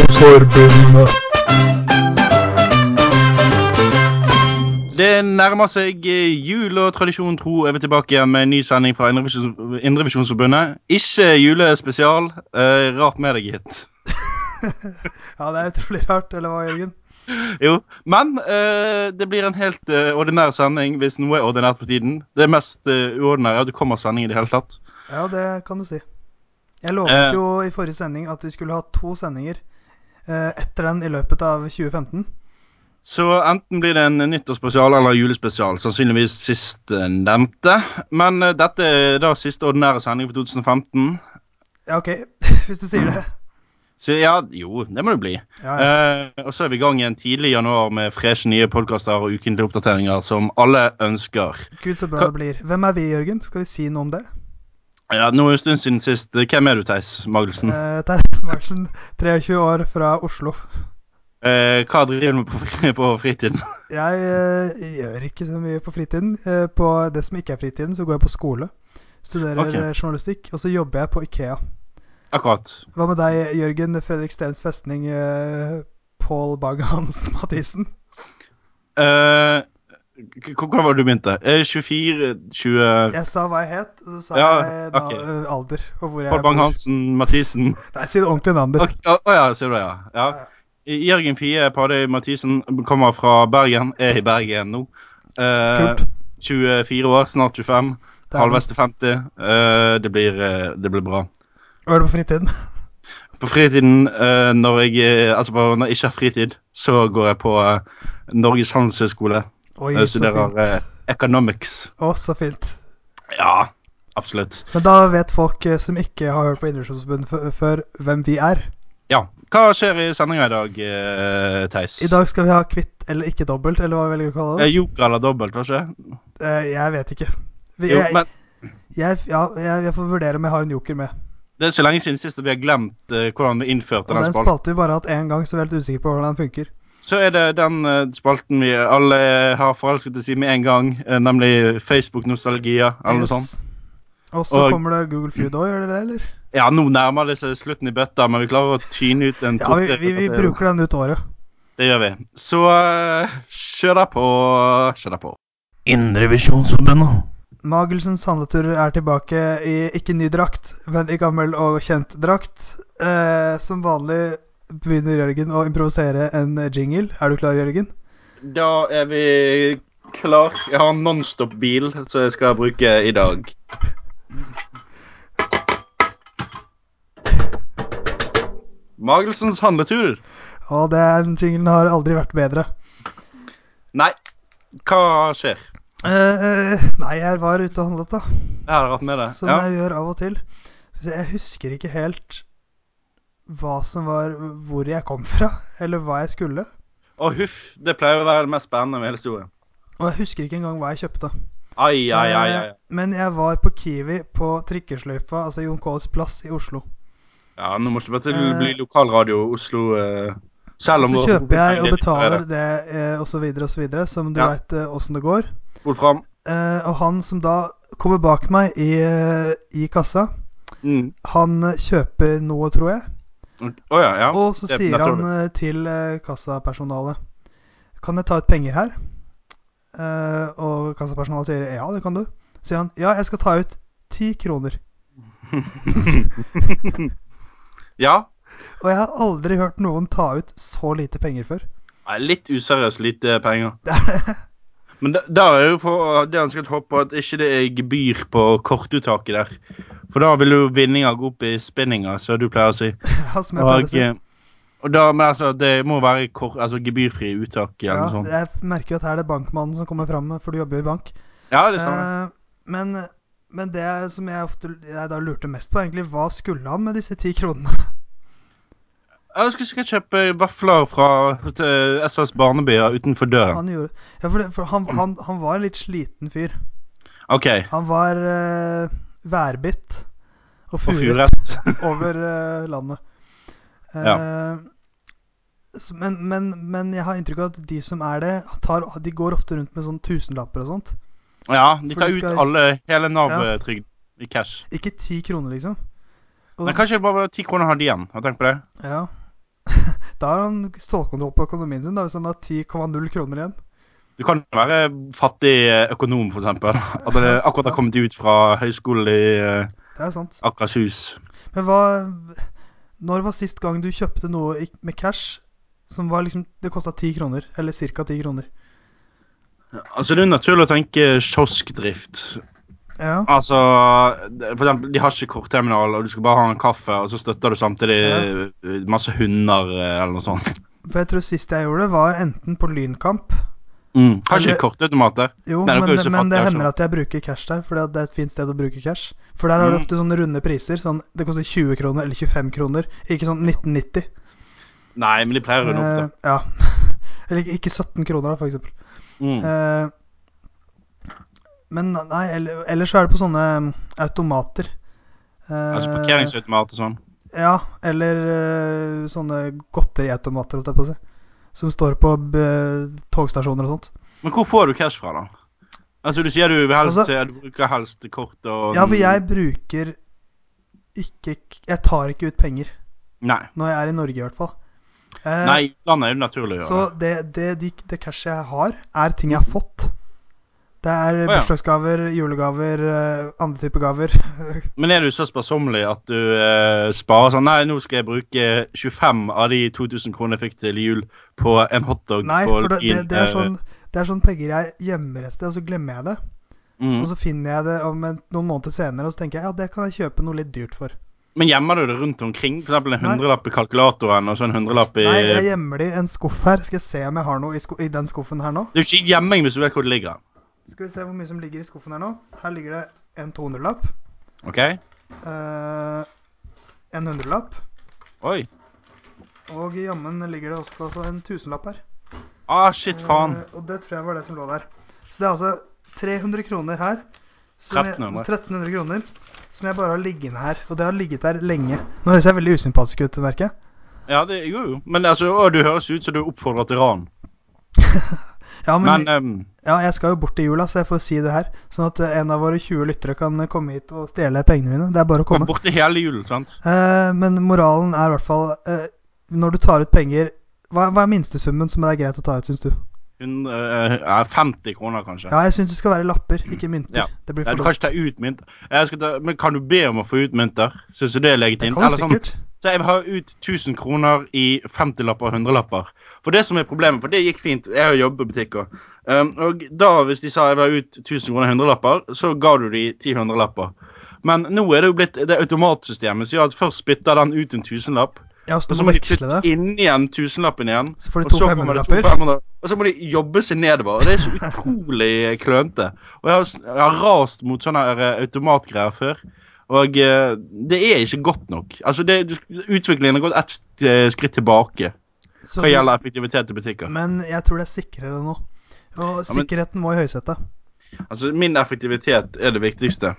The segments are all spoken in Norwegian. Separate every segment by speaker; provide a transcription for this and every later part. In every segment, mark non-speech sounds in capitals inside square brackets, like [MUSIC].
Speaker 1: Forbundet.
Speaker 2: Det nærmer seg eh, jul, og tradisjonen tro er vi tilbake igjen med en ny sending fra Indrevisjons- Indrevisjonsforbundet. Ikke julespesial. eh, rart med deg, gitt.
Speaker 1: Ja, det er utrolig rart, eller hva, Jørgen?
Speaker 2: Jo, men eh, det blir en helt eh, ordinær sending hvis noe er ordinært for tiden. Det mest eh, uordinære er at det kommer sending i det hele tatt.
Speaker 1: Ja, det kan du si. Jeg
Speaker 2: Eh.
Speaker 1: lovet jo i forrige sending at vi skulle ha to sendinger eh, etter den i løpet av 2015.
Speaker 2: Så enten blir det en nyttårsspesial eller julespesial, sannsynligvis sistnevnte. Men eh, dette er da siste ordinære sending for 2015.
Speaker 1: Ja, OK, [LAUGHS] hvis du sier det.
Speaker 2: Så ja, jo, det må det bli.
Speaker 1: Ja, ja.
Speaker 2: Eh, og så er vi i gang igjen tidlig i januar med freshe nye podkaster og ukentlige oppdateringer som alle ønsker.
Speaker 1: Gud, så bra det blir. Hvem er vi, Jørgen? Skal vi si noe om det?
Speaker 2: Ja, nå er det en stund siden sist. Hvem er du, Theis Magelsen?
Speaker 1: Eh, Terje Smartsen, 23 år, fra Oslo.
Speaker 2: Eh, hva driver du med på, fri- på fritiden? [LAUGHS]
Speaker 1: Jeg eh, gjør ikke så mye på fritiden. Eh, på det som ikke er fritiden, så går jeg på skole. Studerer
Speaker 2: Ok.
Speaker 1: eh, journalistikk, og så jobber jeg på Ikea.
Speaker 2: Akkurat.
Speaker 1: Hva med deg, Jørgen Fredrik Stens festning, eh, Pål Bagge-Hansen Mathisen?
Speaker 2: Eh, k- hvordan var det du begynte? Eh, 24 20,
Speaker 1: Jeg sa hva jeg het, og så sa
Speaker 2: Ja,
Speaker 1: jeg
Speaker 2: ok.
Speaker 1: na- eh, alder. Og hvor jeg
Speaker 2: Pål Bang-Hansen,
Speaker 1: [LAUGHS]
Speaker 2: Mathisen
Speaker 1: bor. Nei, si det ordentlige navnet
Speaker 2: Å
Speaker 1: ditt.
Speaker 2: å ja, ser du det, ja. ja. Jørgen Fie Padøy Mathisen kommer fra Bergen. Er i Bergen nå. Eh,
Speaker 1: Kult.
Speaker 2: 24 år, snart 25.
Speaker 1: Det er
Speaker 2: Halvveis til 50. Eh, det, blir, eh, det blir bra.
Speaker 1: Hva er det på fritiden?
Speaker 2: På fritiden, eh, når jeg eh, altså på, når jeg ikke har fritid, så går jeg på eh, Norges handelshøyskole.
Speaker 1: Oi,
Speaker 2: Jeg
Speaker 1: så
Speaker 2: studerer
Speaker 1: fint.
Speaker 2: eh, economics.
Speaker 1: Å, så fint.
Speaker 2: Ja, absolutt.
Speaker 1: Men da vet folk eh, som ikke har hørt på Idrettsforbundet f- før, hvem vi er.
Speaker 2: Ja. Hva skjer i sendinga i dag, eh, Theis?
Speaker 1: I dag skal vi ha kvitt eller ikke dobbelt, eller hva vi velger å kalle det.
Speaker 2: Eh, Joker eller dobbelt, var det ikke?
Speaker 1: Eh, jeg vet ikke. Vi,
Speaker 2: Jo,
Speaker 1: jeg,
Speaker 2: men
Speaker 1: jeg, ja, jeg, jeg får vurdere om jeg har en joker med.
Speaker 2: det er så lenge siden sist at vi har glemt eh, hvordan vi innførte
Speaker 1: Og
Speaker 2: den
Speaker 1: den
Speaker 2: spalten.
Speaker 1: spalte vi bare hatt én gang, så vi er helt usikre på hvordan den funker.
Speaker 2: Så er det den eh, spalten vi alle har forelsket oss i med en gang, eh, nemlig Facebook-nostalgia eller noe
Speaker 1: Yes.
Speaker 2: sånt.
Speaker 1: Og så
Speaker 2: Og-
Speaker 1: kommer det Google Feud òg, gjør det det, eller?
Speaker 2: Ja, nå nærmer det seg slutten i bøtta, men vi klarer å tyne ut en
Speaker 1: [LAUGHS] Ja, vi, vi, vi
Speaker 2: to-tre-
Speaker 1: bruker den ut året.
Speaker 2: Det gjør vi. Så eh, kjør deg på. Kjør deg på.
Speaker 3: Indrevisjonsforbundet.
Speaker 1: Magelsens handletur er tilbake i ikke ny drakt, men i gammel og kjent drakt. Eh, som vanlig begynner Jørgen å improvisere en jingle. Er du klar, Jørgen?
Speaker 2: Da er vi klar. Jeg har en nonstop-bil som jeg skal bruke i dag. Magelsens handletur.
Speaker 1: Og den jinglen har aldri vært bedre.
Speaker 2: Nei, hva skjer?
Speaker 1: Eh, nei, jeg var ute og handlet, da.
Speaker 2: Jeg har hatt med Sånn det.
Speaker 1: Som
Speaker 2: Ja.
Speaker 1: jeg gjør av og til. Så jeg husker ikke helt hva som var Hvor jeg kom fra, eller hva jeg skulle.
Speaker 2: Og huff, det pleier å være det mest spennende med hele historien.
Speaker 1: Og jeg husker ikke engang hva jeg kjøpte.
Speaker 2: Ai, ai, ai, ai.
Speaker 1: Eh, Men jeg var på Kiwi på trikkesløyfa, altså Jon Kaas plass i Oslo.
Speaker 2: Ja, nå må ikke bare til bli lokalradio Oslo eh, Selv om
Speaker 1: Eh, Så
Speaker 2: vår-
Speaker 1: kjøper jeg og
Speaker 2: Nei, det er litt-
Speaker 1: betaler det eh, og så videre og så videre, som du
Speaker 2: Ja.
Speaker 1: vet veit åssen det går.
Speaker 2: Spol fram.
Speaker 1: Eh, og han som da kommer bak meg i, eh, i kassa,
Speaker 2: Mm.
Speaker 1: han eh, kjøper noe, tror jeg.
Speaker 2: Å ja, ja.
Speaker 1: Og så
Speaker 2: det-
Speaker 1: sier
Speaker 2: da tror
Speaker 1: han eh, til eh, kassapersonalet Kan jeg ta ut penger her? Eh, og kassapersonalet sier ja, det kan du. Så sier han ja, jeg skal ta ut ti kroner.
Speaker 2: Ja.
Speaker 1: Og jeg har aldri hørt noen ta ut så lite penger før. [LAUGHS]
Speaker 2: Nei, Litt useriøst lite penger. [LAUGHS] Men da- der er jo for, det han skal håpe på, at ikke det er gebyr på kortuttaket der. For da vil jo vinninga gå opp i spinninga, som du pleier å si.
Speaker 1: Ja, som jeg pleier å
Speaker 2: Og,
Speaker 1: si.
Speaker 2: eh, og da, men altså, det må være kor, altså, gebyrfrie uttak eller
Speaker 1: Ja,
Speaker 2: noe sånt.
Speaker 1: jeg merker jo at her er det bankmannen som kommer fram, for du jobber jo i bank.
Speaker 2: Ja, det stemmer.
Speaker 1: Eh, men, men det som jeg ofte jeg da lurte mest på, egentlig, hva skulle han med disse ti kronene?
Speaker 2: Jeg skulle sikkert kjøpe vafler fra eh, SS Barnebyer utenfor døren.
Speaker 1: Han gjorde Ja, for, det, for han, han, han var en litt sliten fyr.
Speaker 2: OK.
Speaker 1: Han var eh, værbitt og
Speaker 2: Og
Speaker 1: furet
Speaker 2: furett.
Speaker 1: [LAUGHS] over eh, landet. Eh, så- men, men, men jeg har inntrykk av at de som er det, tar, de går ofte rundt med sånn tusenlapper og sånt.
Speaker 2: Ja, de
Speaker 1: For
Speaker 2: tar
Speaker 1: du
Speaker 2: ut
Speaker 1: skal-
Speaker 2: alle, hele Nav-trygden i cash.
Speaker 1: Ikke ti kroner, liksom. Og-
Speaker 2: Men kanskje det bare var ti kroner hadde igjen. Har du tenkt på det?
Speaker 1: Ja. [LAUGHS] Da har han stålkontroll på økonomien sin da, hvis han har 10,0 kroner igjen.
Speaker 2: Du kan jo være fattig eh, økonom, for eksempel. [LAUGHS] At han er- akkurat har kommet ut fra høyskolen i eh,
Speaker 1: Det er sant.
Speaker 2: Akershus.
Speaker 1: Men hva Når var sist gang du kjøpte noe i- med cash som var liksom Det kosta 10 kroner, eller ca. 10 kroner?
Speaker 2: Altså, det er naturlig å tenke kioskdrift.
Speaker 1: Ja.
Speaker 2: Altså, det- for eksempel, de har ikke kortterminal, og du skal bare ha en kaffe, og så støtter du samtidig eh, masse hunder eh, eller noe sånt.
Speaker 1: For jeg tror sist jeg gjorde det, var enten på Lynkamp
Speaker 2: Har ikke de
Speaker 1: Eller-
Speaker 2: Mm. kortautomater?
Speaker 1: Jo,
Speaker 2: Nei, dere er jo
Speaker 1: men,
Speaker 2: så
Speaker 1: men det
Speaker 2: fattige, altså.
Speaker 1: hender at jeg bruker cash der, for det er et fint sted å bruke cash. For der har du
Speaker 2: Mm.
Speaker 1: ofte sånne runde priser. Sånn, det koster 20 kroner eller 25 kroner. Ikke sånn 1990.
Speaker 2: Nei, men de pleier å runde opp, da.
Speaker 1: Eh, ja. [LAUGHS] Eller ikke- ikke 17 kroner, da, for eksempel.
Speaker 2: Mm.
Speaker 1: Eh, men nei, eller- ellers så er det på sånne mm, automater. Eh,
Speaker 2: Altså parkeringsautomat og sånn.
Speaker 1: Ja, eller eh, sånne godteriautomater, holdt jeg på å si. Som står på b togstasjoner og sånt.
Speaker 2: Men hvor får du cash fra, da? Altså, Du sier du, vil helst,
Speaker 1: Altså-
Speaker 2: du bruker helst kort og
Speaker 1: Ja, for jeg bruker ikke k- Jeg tar ikke ut penger.
Speaker 2: Nei,
Speaker 1: Når jeg er i Norge, i hvert fall. Eh,
Speaker 2: Nei, utlandet er jo naturlig å gjøre.
Speaker 1: Så det, det, de, det cashet jeg har, er ting jeg har fått. Det er
Speaker 2: ja.
Speaker 1: bursdagsgaver, julegaver, eh, andre typer gaver.
Speaker 2: Men er du så sparsommelig at du eh, sparer sånn Nei, nå skal jeg bruke 25 av de 2000 kronene jeg fikk til jul på en hotdog
Speaker 1: Nei,
Speaker 2: på
Speaker 1: for det, det,
Speaker 2: Lyn,
Speaker 1: det, er
Speaker 2: eh,
Speaker 1: sånn, det er sånn penger jeg gjemmer et sted, og så glemmer jeg det.
Speaker 2: mm.
Speaker 1: Og så finner jeg det om en, noen måneder senere, og så tenker jeg ja, det kan jeg kjøpe noe litt dyrt for.
Speaker 2: Men gjemmer du det rundt omkring? For eksempel en
Speaker 1: Nei.
Speaker 2: hundrelapp i kalkulatoren og så en hundrelapp i
Speaker 1: Nei, jeg gjemmer det i en skuff her. Skal jeg se om jeg har noe i, sko i den skuffen her nå?
Speaker 2: Det er jo ikke gjemming hvis du vet hvor det ligger.
Speaker 1: Skal vi se hvor mye som ligger i skuffen her nå. Her ligger det en 200-lapp,
Speaker 2: OK?
Speaker 1: eh, en 100-lapp.
Speaker 2: Oi.
Speaker 1: Og jammen ligger det også på en tusenlapp her.
Speaker 2: Ah, shit, faen.
Speaker 1: Eh, og det tror jeg var det som lå der. Så det er altså 300 kroner her. som jeg-
Speaker 2: 1300.
Speaker 1: 1300 kroner som jeg bare har liggende her. Og det har ligget der lenge. Nå høres jeg veldig usympatisk ut, merker jeg.
Speaker 2: Ja, det jo jo. Men altså, å, du høres ut som du oppfordrer til ran.
Speaker 1: Ja, men,
Speaker 2: Men ehm,
Speaker 1: ja, jeg skal jo bort i jula, så jeg får si det her. Sånn at eh, en av våre 20 lyttere kan eh, komme hit og stjele pengene mine. Det er bare å
Speaker 2: kom
Speaker 1: komme.
Speaker 2: borti hele julen, sant?
Speaker 1: Eh, men moralen er i hvert fall eh, Når du tar ut penger hva, hva er minstesummen som det er greit å ta ut, syns du?
Speaker 2: 100, eh, eh, 50 kroner, kanskje.
Speaker 1: Ja, jeg syns det skal være lapper, ikke mynter.
Speaker 2: Ja.
Speaker 1: Det blir
Speaker 2: Ja,
Speaker 1: for
Speaker 2: du kan ikke
Speaker 1: dumt.
Speaker 2: ta ut mynter. Jeg skal ta, men kan du be om å få ut mynter? Syns du det er
Speaker 1: Det
Speaker 2: legitimt?
Speaker 1: kan du
Speaker 2: Eller sånn,
Speaker 1: sikkert.
Speaker 2: så jeg vil ha ut 1000 kroner i 50-lapper og 100-lapper. For det som er problemet, for det gikk fint, jeg har jobbet i butikk også. Um, og da, hvis de sa jeg vil ha ut 1000 kroner i 100-lapper, så ga du de 10 100-lapper. Men nå er det jo blitt det automatsystemet som gjør at først spytter den ut en tusenlapp,
Speaker 1: Ja, så
Speaker 2: og
Speaker 1: du
Speaker 2: så
Speaker 1: må
Speaker 2: må de
Speaker 1: veksle
Speaker 2: putte
Speaker 1: det.
Speaker 2: inn igjen tusenlappen igjen.
Speaker 1: Så får de
Speaker 2: Og
Speaker 1: to
Speaker 2: så kommer det to
Speaker 1: 500-lapper.
Speaker 2: 500, og så må de jobbe seg nedover. Og det er så utrolig klønete. Og jeg har, s- jeg har rast mot sånne her, eh, automatgreier før. Og eh, det er ikke godt nok. Altså, det, du- Utviklingen har gått ett st- eh, skritt tilbake
Speaker 1: Så
Speaker 2: hva
Speaker 1: du-
Speaker 2: gjelder effektivitet i butikker.
Speaker 1: Men jeg tror det er sikrere nå. Og sikkerheten må i høysetet.
Speaker 2: Altså, Min effektivitet er det viktigste.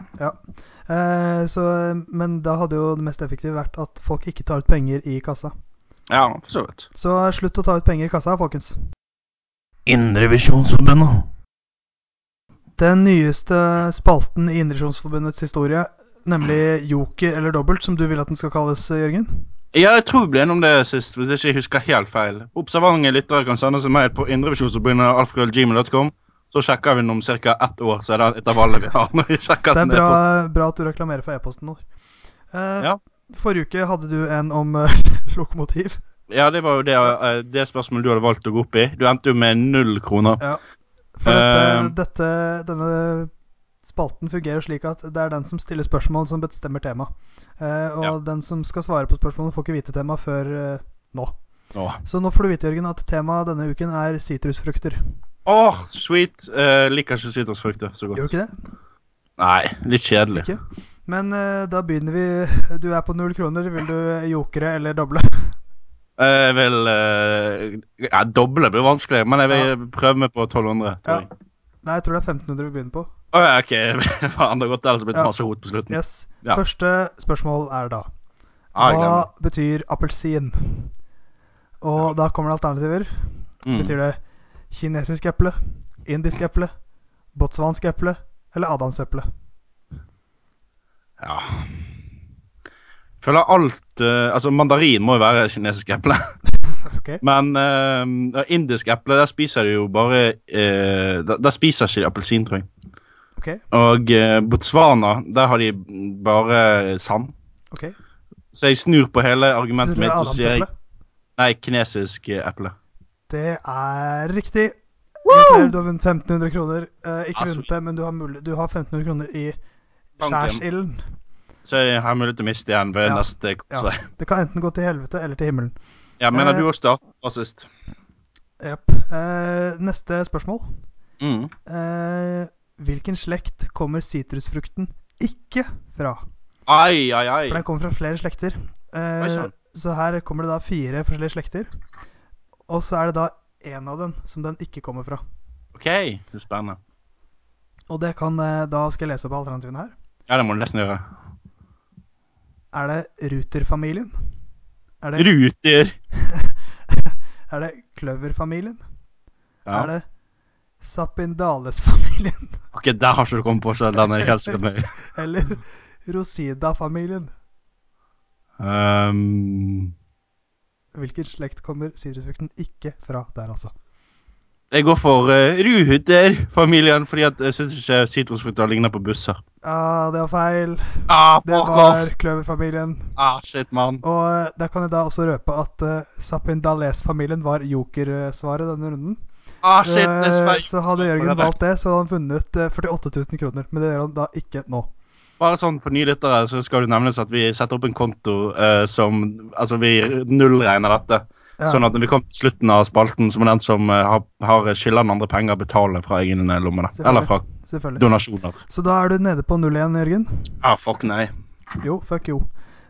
Speaker 1: Eh, så- men da hadde jo det mest effektive vært at folk ikke tar ut penger i kassa.
Speaker 2: Ja, for så vidt.
Speaker 1: Så slutt å ta ut penger i kassa, folkens.
Speaker 3: Indrevisjonsforbundet.
Speaker 1: Den nyeste spalten i Indremisjonsforbundets historie, nemlig Joker eller dobbelt, som du vil at den skal kalles, Jørgen.
Speaker 2: Ja, jeg tror vi ble enige om det sist, hvis jeg ikke husker helt feil. Observante lyttere kan sende seg mail på indrevisjonsforbundet.alfrødgmail.com. Så sjekker vi den om ca. ett år, så er det et av alle vi har. når vi sjekker
Speaker 1: Det er
Speaker 2: den e-posten.
Speaker 1: bra, bra at du reklamerer for e-posten vår. Eh,
Speaker 2: Ja.
Speaker 1: Forrige uke hadde du en om eh, [LAUGHS] lokomotiv.
Speaker 2: Ja, det var jo det, eh, det spørsmålet du hadde valgt å gå opp i. Du endte jo med null kroner.
Speaker 1: For dette,
Speaker 2: Eh.
Speaker 1: dette, denne spalten fungerer slik at det er den som stiller spørsmål, som bestemmer tema. Eh, og
Speaker 2: Ja.
Speaker 1: den som skal svare på spørsmålene, får ikke vite temaet før eh, nå.
Speaker 2: Åh,
Speaker 1: Så nå får du vite, Jørgen, at temaet denne uken er sitrusfrukter.
Speaker 2: Åh, sweet! Eh, liker ikke sitrusfrukter så
Speaker 1: Gjør du
Speaker 2: godt.
Speaker 1: ikke det?
Speaker 2: Nei, litt kjedelig.
Speaker 1: Ikke? Men eh, da begynner vi. Du er på null kroner. Vil du jokere eller doble?
Speaker 2: Eh, Jeg vil eh, ja, Doble blir vanskelig, men jeg vil prøve meg på 1200. tror
Speaker 1: Ja.
Speaker 2: jeg.
Speaker 1: Nei, jeg tror det er 1500 vi begynner på.
Speaker 2: Å ja, OK. [LAUGHS] Faen, det har gått ellers blitt
Speaker 1: Ja.
Speaker 2: masse hot på slutten.
Speaker 1: Yes.
Speaker 2: Ja.
Speaker 1: Første spørsmål er da
Speaker 2: Ah, jeg
Speaker 1: Hva
Speaker 2: glemmer.
Speaker 1: betyr appelsin? Og da kommer det alternativer.
Speaker 2: Mm.
Speaker 1: Betyr det kinesisk eple, indisk eple, botswansk eple eller adamseple? [LAUGHS]
Speaker 2: Mm. Ja. Føler alt eh, Altså, mandarin må jo være kinesisk eple. [LAUGHS]
Speaker 1: Ok.
Speaker 2: Men eh, indisk eple, der spiser du jo bare eh, der, der spiser ikke de appelsin, tror jeg.
Speaker 1: ok,
Speaker 2: Og eh, Botswana, der har de bare sand.
Speaker 1: ok.
Speaker 2: Så jeg snur på hele argumentet
Speaker 1: Snurrer
Speaker 2: mitt og
Speaker 1: Adams
Speaker 2: sier jeg,
Speaker 1: eple.
Speaker 2: nei, kinesisk eh, eple.
Speaker 1: Det er riktig. Gratulerer, du har vunnet 1500 kroner. Eh, ikke
Speaker 2: Ah, så-
Speaker 1: vunnet det, men du har, mulig, du har 1500 kroner i
Speaker 2: Banken.
Speaker 1: skjærsilden.
Speaker 2: Så jeg har mulighet til å miste igjen ved
Speaker 1: Ja,
Speaker 2: neste
Speaker 1: Ja.
Speaker 2: korsvei. Ja.
Speaker 1: Det kan enten gå til helvete eller til himmelen.
Speaker 2: Jeg mener
Speaker 1: Eh.
Speaker 2: du også startet rasist.
Speaker 1: Jep. Eh, neste spørsmål.
Speaker 2: Mm.
Speaker 1: Eh, hvilken slekt kommer sitrusfrukten ikke fra?
Speaker 2: Ai, ai,
Speaker 1: For
Speaker 2: ai.
Speaker 1: den kommer fra flere slekter. Eh,
Speaker 2: Oi, sånn. sann.
Speaker 1: så her kommer det da fire forskjellige slekter. Og så er det da én av dem som den ikke kommer fra.
Speaker 2: Ok, det er spennende.
Speaker 1: Og det kan, eh, da skal jeg lese opp alternativene her.
Speaker 2: Ja, det må du nesten gjøre.
Speaker 1: Er det Ruter-familien? Er det,
Speaker 2: Ruter.
Speaker 1: er det Kløver-familien?
Speaker 2: Ja.
Speaker 1: Er det Sapindales-familien?
Speaker 2: Ok, der har ikke du kommet på, så den er jeg helt sikker med.
Speaker 1: [LAUGHS] Eller Rosida-familien?
Speaker 2: Um,
Speaker 1: Hvilken slekt kommer sitrusfrukten ikke fra der, altså?
Speaker 2: jeg går for uh, Ruter-familien, fordi at jeg synes ikke sitrusfrukter ligner på busser.
Speaker 1: Ja, det var feil.
Speaker 2: Ah,
Speaker 1: Det
Speaker 2: fuck
Speaker 1: var
Speaker 2: off!
Speaker 1: Kløver-familien.
Speaker 2: Ah, shit, mann.
Speaker 1: Og eh, der kan jeg da også røpe at uh, Sapindales-familien var jokersvaret denne runden.
Speaker 2: Ah, shit, det er
Speaker 1: Eh,
Speaker 2: sveis.
Speaker 1: så hadde Jørgen valgt det, så hadde han vunnet eh, 48 000 kroner. Men det gjør han da ikke nå.
Speaker 2: Bare sånn for nye lyttere, så skal det nevnes at vi setter opp en konto eh, som Altså, vi nullregner dette.
Speaker 1: Ja.
Speaker 2: Sånn at når vi kommer til slutten av spalten, så må den som eh, har, har skylder den andre penger, betale fra egen eh, lomme. da. Eller fra
Speaker 1: Selvfølgelig.
Speaker 2: donasjoner.
Speaker 1: Så da er du nede på 0 igjen, Jørgen.
Speaker 2: Ah, fuck nei.
Speaker 1: Jo, fuck jo.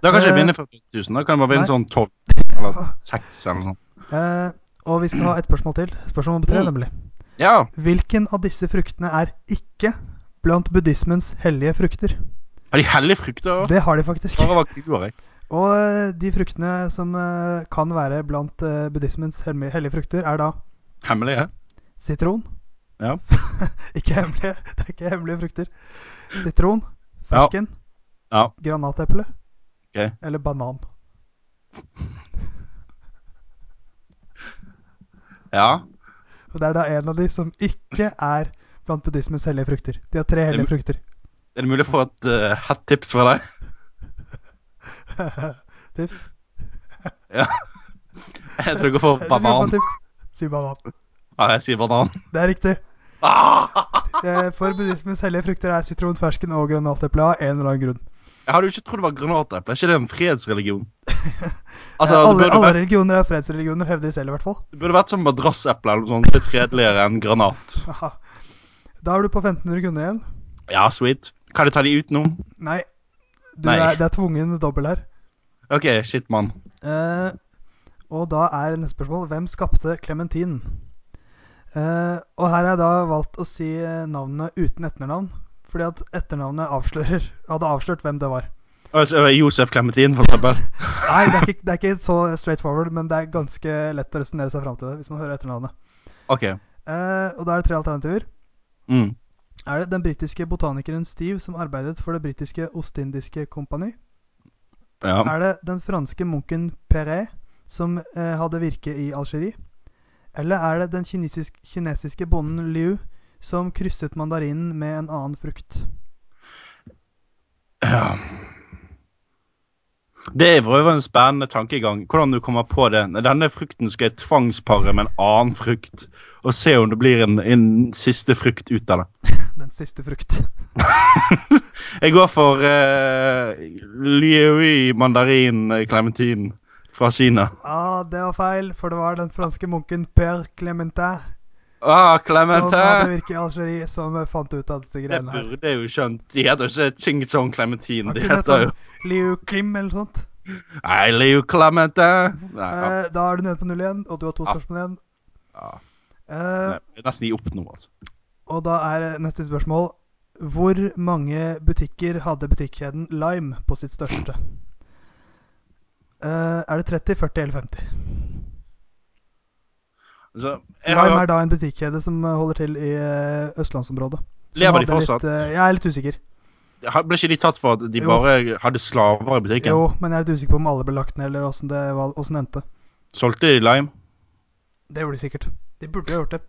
Speaker 2: Da kan ikke
Speaker 1: Eh,
Speaker 2: jeg vinne for 1000. Da kan jeg bare vinne
Speaker 1: nei.
Speaker 2: sånn 12 eller
Speaker 1: [LAUGHS]
Speaker 2: 6 eller noe sånt.
Speaker 1: Eh, og vi skal ha et spørsmål til. Spørsmål nummer tre,
Speaker 2: Mm.
Speaker 1: nemlig.
Speaker 2: Ja.
Speaker 1: Hvilken av disse fruktene er ikke blant buddhismens hellige frukter?
Speaker 2: Har de hellige frukter òg?
Speaker 1: Det har de faktisk.
Speaker 2: Bare var kuer, jeg.
Speaker 1: Og eh, de fruktene som eh, kan være blant eh, buddhismens helmi- hellige frukter, er da
Speaker 2: Hemmelige?
Speaker 1: sitron
Speaker 2: Ja.
Speaker 1: [LAUGHS] Ikke hemmelige, det er ikke hemmelige frukter. Sitron, fersken,
Speaker 2: Ja.
Speaker 1: granateple
Speaker 2: Ok.
Speaker 1: eller banan.
Speaker 2: Ja.
Speaker 1: Og det er da en av de som ikke er blant buddhismens hellige frukter. De har tre hellige frukter.
Speaker 2: Er det mulig å få et uh, hett tips fra deg? [LAUGHS]
Speaker 1: Tips?
Speaker 2: Jeg tror jeg går for
Speaker 1: Eh, du skal få
Speaker 2: banan.
Speaker 1: tips. Si banan.
Speaker 2: Ja, jeg sier banan.
Speaker 1: Det er riktig.
Speaker 2: Ah!
Speaker 1: Eh, For buddhismens hellige frukter er sitron, fersken og granateple av en eller annen grunn.
Speaker 2: Jeg hadde jo ikke trodd det var granateple. Er ikke det en fredsreligion?
Speaker 1: [LAUGHS] Eh,
Speaker 2: Altså, det
Speaker 1: alle,
Speaker 2: burde,
Speaker 1: alle
Speaker 2: vært,
Speaker 1: religioner er fredsreligioner, hevder de selv i hvert fall.
Speaker 2: det burde vært som madrasseple eller noe sånt. Litt fredeligere enn granat.
Speaker 1: Haha. Da er du på 1500 kroner igjen.
Speaker 2: Ja, sweet. Kan jeg ta de utenom?
Speaker 1: Nei, du
Speaker 2: Nei.
Speaker 1: Er, det er tvungen dobbel her.
Speaker 2: OK, shit, mann.
Speaker 1: Eh, og da er neste spørsmål Hvem skapte Clementine? Eh, og her har jeg da valgt å si eh, navnene uten etternavn, fordi at etternavnet avslører [LAUGHS] hadde avslørt hvem det var.
Speaker 2: Altså, Josef Clementin, for eksempel.
Speaker 1: Nei, det er ikke, det er ikke så straight forward, men det er ganske lett å resonnere seg fram til det hvis man hører etternavnet.
Speaker 2: OK.
Speaker 1: Eh, og da er det tre alternativer.
Speaker 2: Mm.
Speaker 1: Er det den britiske botanikeren Steve som arbeidet for det britiske ostindiske kompani?
Speaker 2: Ja.
Speaker 1: Er det den franske munken Perret som eh, hadde virke i Algerie? Eller er det den kinesisk, kinesiske bonden Liu som krysset mandarinen med en annen frukt?
Speaker 2: ja. Det er for øvrig en spennende tankegang. Hvordan du kommer på det. Denne frukten skal jeg tvangspare med en annen frukt, og se om det blir en, en siste frukt ut av det.
Speaker 1: Den siste frukt. [LAUGHS]
Speaker 2: Jeg går for uh, Liui mandarin eh, clementin fra Kina.
Speaker 1: Ah, det var feil, for det var den franske munken Per Clementin
Speaker 2: Ah,
Speaker 1: som Sånn hadde
Speaker 2: Clementin!
Speaker 1: virke i Algerie, som eh, fant ut av dette
Speaker 2: Det
Speaker 1: greiene her.
Speaker 2: burde jeg jo skjønt. De heter jo ikke Ching Chong Clementin.
Speaker 1: Han
Speaker 2: De
Speaker 1: kunne hett
Speaker 2: heter jo
Speaker 1: sånn Liu Klim eller noe sånt.
Speaker 2: Nei, Liu Clementin! Nei, ja,
Speaker 1: Eh, da er du nede på null igjen, og du har to
Speaker 2: Ja.
Speaker 1: spørsmål igjen.
Speaker 2: ja.
Speaker 1: Eh,
Speaker 2: Nei, jeg er nesten gi opp nå, altså.
Speaker 1: Og da er neste spørsmål Hvor mange butikker hadde butikkjeden Lime på sitt største? Eh, er det 30, 40 eller 50?
Speaker 2: altså jeg har,
Speaker 1: Lime
Speaker 2: jo-
Speaker 1: er da en butikkjede som eh, holder til i eh, østlandsområdet. Som
Speaker 2: Lever de
Speaker 1: hadde litt,
Speaker 2: fortsatt?
Speaker 1: eh, jeg er litt usikker.
Speaker 2: har- ble ikke de tatt for at de
Speaker 1: Jo.
Speaker 2: bare hadde slaver i butikken?
Speaker 1: Jo, men jeg er litt usikker på om alle ble lagt ned, eller åssen det var- hvordan det endte.
Speaker 2: Solgte de lime?
Speaker 1: Det gjorde de sikkert. De burde ha gjort det.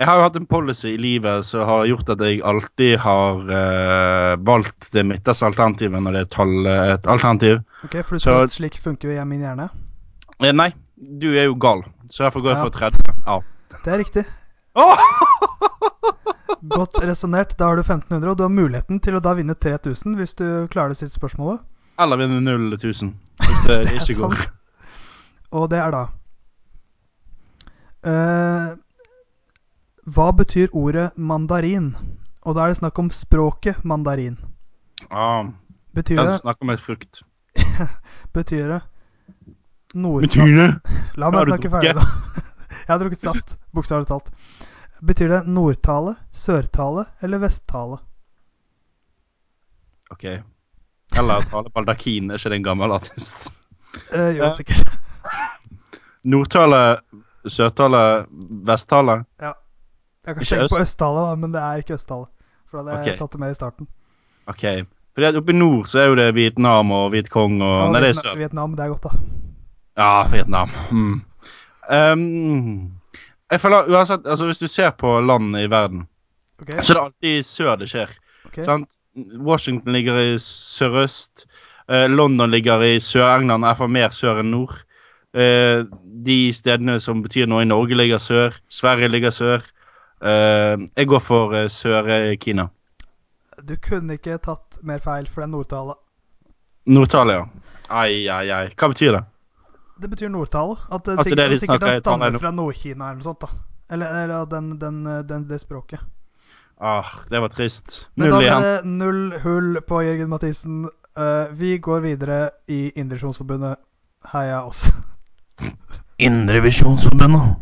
Speaker 2: Jeg har jo hatt en policy i livet som har gjort at jeg alltid har eh, valgt det midterste alternativet når det er et, tall, et alternativ.
Speaker 1: Ok, For du
Speaker 2: Så-
Speaker 1: tror at slik funker jo min hjerne?
Speaker 2: Eh, nei, du er jo gal, så derfor går jeg
Speaker 1: Ja.
Speaker 2: for 30. Ja.
Speaker 1: Det er riktig.
Speaker 2: Åh! [LAUGHS]
Speaker 1: Godt resonnert. Da har du 1500, og du har muligheten til å da vinne 3000 hvis du klarer det siste spørsmålet.
Speaker 2: Eller vinne 0 eller 1000, hvis det,
Speaker 1: [LAUGHS] Det er
Speaker 2: ikke går.
Speaker 1: Og det er da eh, Hva betyr ordet mandarin? Og da er det snakk om språket mandarin.
Speaker 2: Ah,
Speaker 1: Betyr
Speaker 2: den
Speaker 1: det,
Speaker 2: som snakker om et frukt.
Speaker 1: betyr det nord...
Speaker 2: Betune!
Speaker 1: [LAUGHS] La
Speaker 2: Har
Speaker 1: meg
Speaker 2: du
Speaker 1: snakke ferdig,
Speaker 2: drukket?
Speaker 1: da. [LAUGHS] Jeg har drukket saft, bokstavelig talt. Betyr det nordtale, sørtale eller vesttale?
Speaker 2: Ok. Eller Tale Baldakin, er ikke det en gammel artist?
Speaker 1: Eh, jo,
Speaker 2: Ja.
Speaker 1: sikkert.
Speaker 2: Nordtale, Sørtale, Vesttale.
Speaker 1: Jeg kan
Speaker 2: Ikke
Speaker 1: tenke på østtale, da, men det er ikke østtale. For da hadde jeg
Speaker 2: Ok.
Speaker 1: tatt det med i starten.
Speaker 2: Ok. Fordi at oppe i nord så er jo det Vietnam og Hvitkong og
Speaker 1: Og
Speaker 2: Nei, det er
Speaker 1: Vietna-
Speaker 2: sør.
Speaker 1: Vietnam, det er godt, da.
Speaker 2: Ja, Vietnam. Mm. Um, jeg føler uansett, altså Hvis du ser på landene i verden,
Speaker 1: Ok,
Speaker 2: så er det alltid sør det skjer.
Speaker 1: ok.
Speaker 2: Sant? Washington ligger i sørøst. eh, London ligger i Sør-England, er for mer sør enn nord. Eh, de stedene som betyr noe i Norge, ligger sør. Sverige ligger sør. Eh, jeg går for eh, Sør-Kina.
Speaker 1: Du kunne ikke tatt mer feil for den nordtale.
Speaker 2: Nordtale, ja. Ai, ai, ai. Hva betyr det?
Speaker 1: Det betyr nordtale. At det
Speaker 2: Altså,
Speaker 1: sikkert,
Speaker 2: det de
Speaker 1: at sikkert
Speaker 2: snakker
Speaker 1: den
Speaker 2: i
Speaker 1: stammer
Speaker 2: Trondheim.
Speaker 1: fra Nord-Kina eller noe sånt. da Eller, eller at den, den, eh, den, det språket.
Speaker 2: Ah, det var trist.
Speaker 1: Men
Speaker 2: Null
Speaker 1: da
Speaker 2: igjen.
Speaker 1: ble det null hull på Jørgen Mathisen. Eh, vi går videre i Indremisjonsforbundet. Heia oss.
Speaker 3: Indrevisjonsforbundet.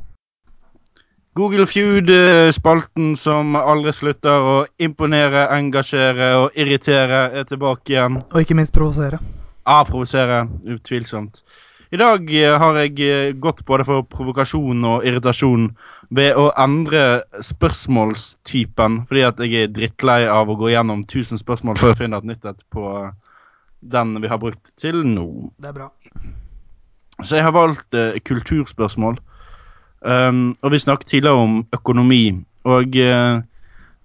Speaker 2: Google Feud, eh, spalten som aldri slutter å imponere, engasjere og irritere, er tilbake igjen.
Speaker 1: Og ikke minst provosere.
Speaker 2: Ah, provosere. Utvilsomt. I dag eh, har jeg eh, gått både for provokasjon og irritasjon ved å endre spørsmålstypen, fordi at jeg er drittlei av å gå gjennom 1000 spørsmål før jeg finner et nytt et på eh, den vi har brukt til nå.
Speaker 1: Det er bra.
Speaker 2: Så jeg har valgt eh, kulturspørsmål. Um, og vi snakket tidligere om økonomi. Og eh,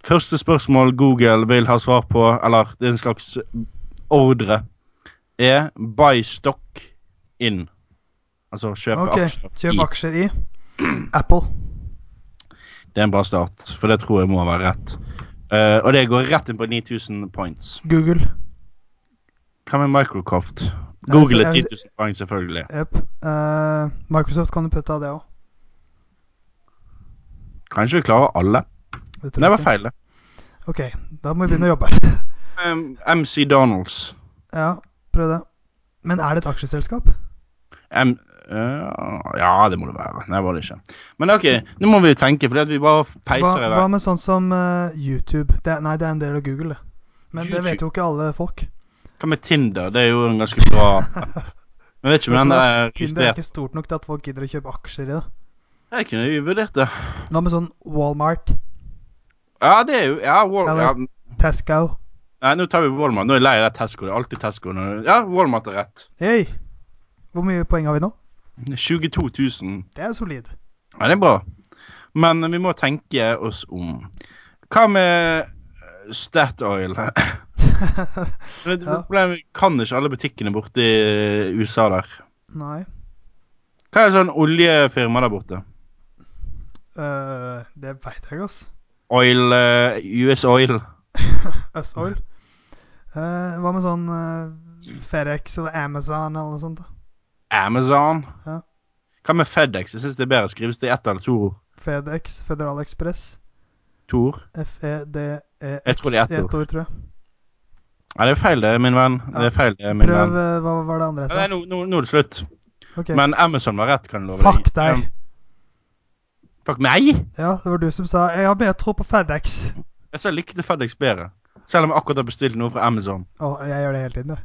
Speaker 2: første spørsmål Google vil ha svar på, eller det er en slags ordre, er 'buy stock in'. Altså kjøpe
Speaker 1: Ok,
Speaker 2: aksjer.
Speaker 1: kjøp
Speaker 2: i.
Speaker 1: aksjer i Apple.
Speaker 2: Det er en bra start, for det tror jeg må være rett. Eh, og det går rett inn på 9000 points.
Speaker 1: Google.
Speaker 2: Hva med Microcoft? Google
Speaker 1: Jeg-
Speaker 2: er 10
Speaker 1: altså, jeg-
Speaker 2: 000 poeng, selvfølgelig.
Speaker 1: Eh, Jep. Eh, Microsoft kan du putte av det òg.
Speaker 2: Kanskje vi klarer alle. Det var feil, det.
Speaker 1: Ok, da må vi begynne å jobbe her.
Speaker 2: Um, MC Donalds.
Speaker 1: Ja, prøv det. Men er det et aksjeselskap?
Speaker 2: Em, øh, ja, det må det være. Nei, det var det ikke. Men ok, nå må vi tenke, for vi bare
Speaker 1: Hva,
Speaker 2: peiser i
Speaker 1: hva
Speaker 2: vei.
Speaker 1: med sånn som eh, YouTube? Det, er- nei, det er en del av Google, det. Men det vet jo ikke alle folk.
Speaker 2: Hva med Tinder? Det er jo en ganske bra app. Men jeg vet ikke om
Speaker 1: Vet du
Speaker 2: den
Speaker 1: hva?
Speaker 2: er
Speaker 1: Tinder er
Speaker 2: registrert.
Speaker 1: ikke stort nok til at folk gidder å kjøpe aksjer i det.
Speaker 2: Jeg kunne jo vurdert det.
Speaker 1: Hva med sånn Walmart,
Speaker 2: Ja, det er jo Ja, Wal
Speaker 1: Eller-
Speaker 2: ja.
Speaker 1: Tesco
Speaker 2: Nei, nå tar vi Walmart. Nå er jeg lei av det Tesco. Det er alltid Tesco. når- Ja, Walmart er rett.
Speaker 1: Hei! Hvor mye poeng har vi nå?
Speaker 2: 22 000.
Speaker 1: Det er solid.
Speaker 2: Ja, det er bra. Men vi må tenke oss om. Hva med eh,
Speaker 1: [LAUGHS]
Speaker 2: Statoil? Men det-
Speaker 1: Ja.
Speaker 2: Problemet er, kan ikke alle butikkene borte i eh, USA der.
Speaker 1: Nei.
Speaker 2: Hva er sånn oljefirma der borte?
Speaker 1: eh, det veit jeg, ass.
Speaker 2: Oil eh, US Oil.
Speaker 1: Us Oil. Eh, hva med sånn eh, Fedex eller Amazon eller noe sånt? da?
Speaker 2: Amazon.
Speaker 1: Ja.
Speaker 2: Hva med FedEx? Jeg syns det er bedre. Skrives det i ett eller to ord?
Speaker 1: Fedex, Federal Express,
Speaker 2: To ord?
Speaker 1: E FEDEX
Speaker 2: Jeg tror det er ett
Speaker 1: i ett ord, tror jeg.
Speaker 2: Nei, det er feil, det, min venn. Det er feil, det, min
Speaker 1: Prøv
Speaker 2: venn.
Speaker 1: eh, Hva var det andre jeg
Speaker 2: Nei,
Speaker 1: sa?
Speaker 2: nå, nå, nå er det slutt.
Speaker 1: Ok.
Speaker 2: Men Amazon var rett, kan jeg love
Speaker 1: Fuck deg!
Speaker 2: Fuck meg!
Speaker 1: Ja, det var du som sa 'jeg har mer tro på Fedex'.
Speaker 2: Jeg sa jeg likte FedEx bedre. Selv om jeg akkurat har bestilt noe fra Amazon.
Speaker 1: Å, jeg gjør det hele tiden, jeg.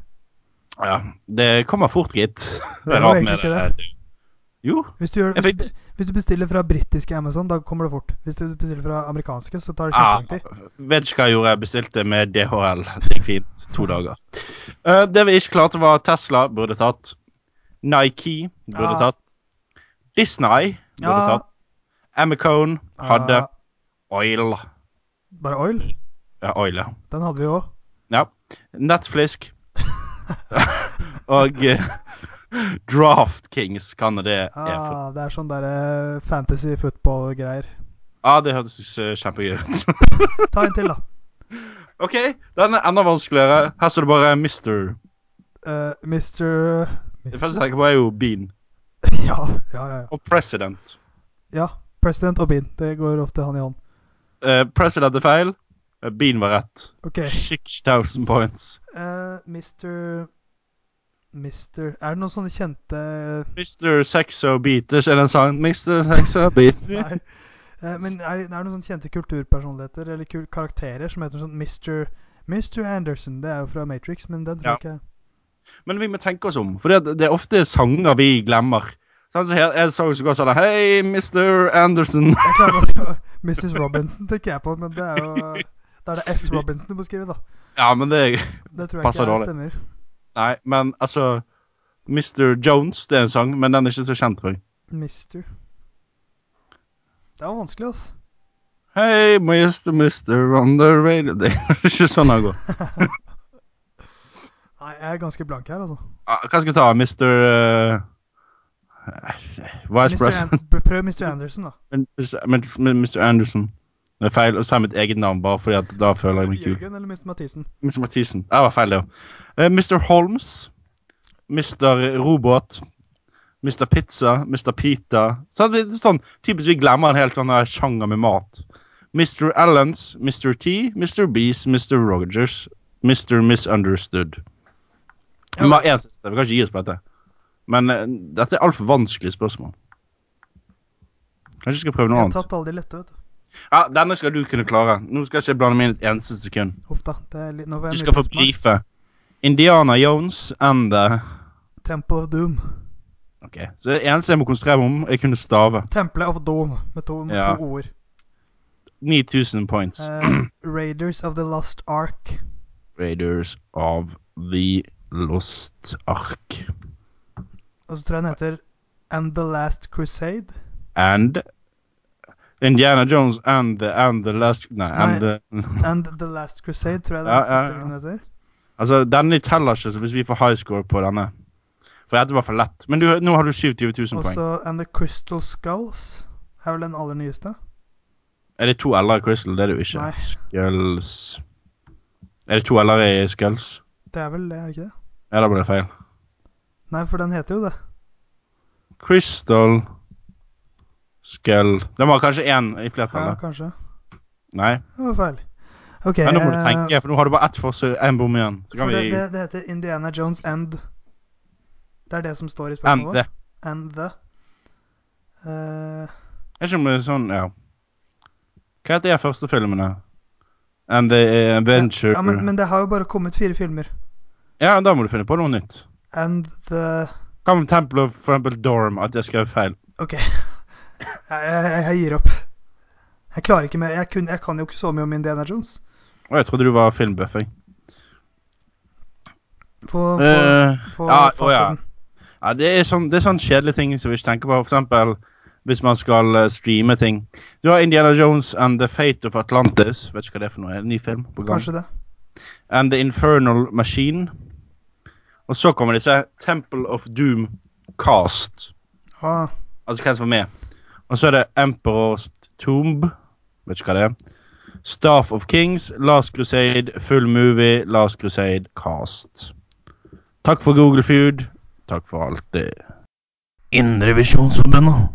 Speaker 2: Ja, Det kommer fort, gitt. Det
Speaker 1: Det
Speaker 2: er
Speaker 1: var
Speaker 2: rart med
Speaker 1: egentlig
Speaker 2: det.
Speaker 1: ikke
Speaker 2: Jo.
Speaker 1: Hvis du, gjør,
Speaker 2: Jeg
Speaker 1: hvis,
Speaker 2: fikk-
Speaker 1: du- hvis du bestiller fra britiske Amazon, da kommer det fort. Hvis du bestiller fra amerikanske, så tar det
Speaker 2: Ah,
Speaker 1: kjempelang tid.
Speaker 2: vet ikke hva jeg gjorde. Jeg bestilte med DHL. Det gikk fint. To dager. Eh, det vi ikke klarte, var Tesla burde tatt. Nike burde
Speaker 1: Ja.
Speaker 2: tatt. Disney burde
Speaker 1: Ja.
Speaker 2: tatt. Amicone hadde
Speaker 1: Ja, ah,
Speaker 2: Oil.
Speaker 1: bare Oil.
Speaker 2: Ja, Oil, ja.
Speaker 1: Den hadde vi òg.
Speaker 2: ja.
Speaker 1: [LAUGHS]
Speaker 2: Netflix. Og eh, [LAUGHS] DraftKings, kan det er for.
Speaker 1: Ah, det er sånn derre fantasy football-greier.
Speaker 2: Ja, det hørtes eh, kjempegøy ut. [LAUGHS]
Speaker 1: Ta en til, da.
Speaker 2: OK, den er enda vanskeligere. Her står det bare Mister.
Speaker 1: Eh, Mr.
Speaker 2: Det første jeg tenker på, er jo Bean.
Speaker 1: [LAUGHS] Ja, ja, ja. ja.
Speaker 2: Og President.
Speaker 1: ja President og Bean. Det går ofte hånd i hånd.
Speaker 2: Eh, president er feil. Eh, Bean var rett.
Speaker 1: OK.
Speaker 2: 6000 points.
Speaker 1: eh, Mr. Mr. Er det noen sånne kjente
Speaker 2: Mr. Sexo Beat. Det er ikke en sang. Mr. Sexo Beat.
Speaker 1: Nei. Eh, men er det, er det noen sånne kjente kulturpersonligheter eller kul karakterer som heter sånn Mr. Mr. Anderson? Det er jo fra Matrix, men den tror jeg ikke
Speaker 2: Men vi må tenke oss om, for det, det er ofte sanger vi glemmer. Sånn, så her er det sang som går sånn Hei, Mr. Anderson. [LAUGHS]
Speaker 1: Jeg klarer også [LAUGHS] Mrs. Robinson tenker jeg på, men det er jo Da er det S. Robinson du må skrive, da.
Speaker 2: Ja, men det er
Speaker 1: Det tror jeg
Speaker 2: Passer
Speaker 1: ikke er
Speaker 2: dårlig.
Speaker 1: stemmer.
Speaker 2: Nei, men altså Mr. Jones, det er en sang, men den er ikke så kjent, tror jeg.
Speaker 1: Mister. Det var vanskelig, altså.
Speaker 2: Hei, Mr. Mr. on the radio Det er ikke sånn det går.
Speaker 1: Nei, jeg er ganske blank her, altså.
Speaker 2: Ah, Hva skal vi ta? Mr. eh, Vice
Speaker 1: Mr.
Speaker 2: President?
Speaker 1: An prøv Mr. Anderson, da.
Speaker 2: Men, men, men Mr. Anderson Det er feil å si mitt eget navn, bare fordi at da føler jeg meg kul.
Speaker 1: Jørgen eller Mr. Mathisen?
Speaker 2: Mr. Mathisen. Det var feil, det òg. Mr. Holmes. Mr. Robot. Mr. Pizza. Mr. Pita. Sånn, det er sånn Typisk vi glemmer en helt sånn her sjanger med mat. Mr. Allens, Mr. T, Mr. Bees, Mr. Rogers, Mr. Misunderstood.
Speaker 1: Ja.
Speaker 2: Vi har én siste. Vi kan ikke gi oss på dette. Men eh, dette er altfor vanskelige spørsmål. Kanskje jeg skal prøve
Speaker 1: Jeg
Speaker 2: noe
Speaker 1: har
Speaker 2: annet.
Speaker 1: tatt alle de lette, vet du.
Speaker 2: Ja, Denne skal du kunne klare. Nå skal jeg ikke blande meg inn et eneste sekund.
Speaker 1: Huff da. Det er litt, nå får
Speaker 2: Du
Speaker 1: jeg
Speaker 2: skal få
Speaker 1: nyhetssmak.
Speaker 2: briefe. Indiana Jones and the
Speaker 1: Temple of Doom.
Speaker 2: Ok, så det eneste jeg må konsentrere meg om, jeg kunne stave.
Speaker 1: Temple of Doom, med to, med
Speaker 2: Ja.
Speaker 1: to ord.
Speaker 2: 9000 points.
Speaker 1: Eh, Raiders of the Lost Ark.
Speaker 2: Raiders of the Lost Ark.
Speaker 1: Og så tror jeg den heter And the Last Crusade.
Speaker 2: And Indiana Jones and the, and the last Nei, and
Speaker 1: Nei.
Speaker 2: the
Speaker 1: And the Last Crusade, tror jeg den
Speaker 2: Ja,
Speaker 1: siste
Speaker 2: ja, ja.
Speaker 1: den heter.
Speaker 2: Altså, denne teller ikke, så hvis vi får high score på denne For dette var for lett. Men du, nå har du 27 000
Speaker 1: Og
Speaker 2: poeng.
Speaker 1: så And the Crystal Skulls. Er vel den aller nyeste?
Speaker 2: Er det to L-er i Crystal? Det er det jo ikke.
Speaker 1: Nei.
Speaker 2: Skulls Er det to L-er i Skulls?
Speaker 1: Det er vel det, er det ikke det?
Speaker 2: Ja, da ble det feil.
Speaker 1: Nei, for den heter jo det.
Speaker 2: Crystal Skull Den var kanskje én i
Speaker 1: Ja,
Speaker 2: flertallet.
Speaker 1: kanskje.
Speaker 2: Nei.
Speaker 1: Det var feil. Ok.
Speaker 2: Men nå må du
Speaker 1: eh,
Speaker 2: tenke, for nå har du bare ett forsøk, én bom igjen. Så kan
Speaker 1: for det,
Speaker 2: vi
Speaker 1: det, det heter Indiana Jones and Det er det som står i
Speaker 2: ende.
Speaker 1: spørsmålet. And the. Eh,
Speaker 2: Er ikke om det er sånn, ja. Hva heter de første filmene? And the Adventure
Speaker 1: ja, men, men det har jo bare kommet fire filmer.
Speaker 2: ja, da må du finne på noe nytt.
Speaker 1: And the
Speaker 2: Hva med Temple of for eksempel Dorm? At jeg skrev feil.
Speaker 1: Ok. Jeg, jeg, jeg gir opp. Jeg klarer ikke mer. Jeg, kun, jeg kan jo ikke så mye om Indiana Jones.
Speaker 2: Å, jeg trodde du var filmbuff, jeg.
Speaker 1: Få, få,
Speaker 2: Eh,
Speaker 1: få
Speaker 2: ja, å, ja.
Speaker 1: fasiten.
Speaker 2: Ja, det er sånn, det er sånn kjedelige ting som vi ikke tenker på. For eksempel hvis man skal eh, streame ting. Du har Indiana Jones and The Fate of Atlantis. Vet ikke hva det er for noe. En ny film på gang.
Speaker 1: Kanskje det.
Speaker 2: And The Infernal Machine. Og så kommer disse Temple of Doom Cast.
Speaker 1: Ah,
Speaker 2: Altså hvem som er med. Og så er det Emperor's Tomb. Vet ikke hva det er. Staff of Kings, Last Crusade, Full Movie, Last Crusade, Cast. Takk for Google Food. Takk for alt det.
Speaker 3: Indrevisjonsforbundet.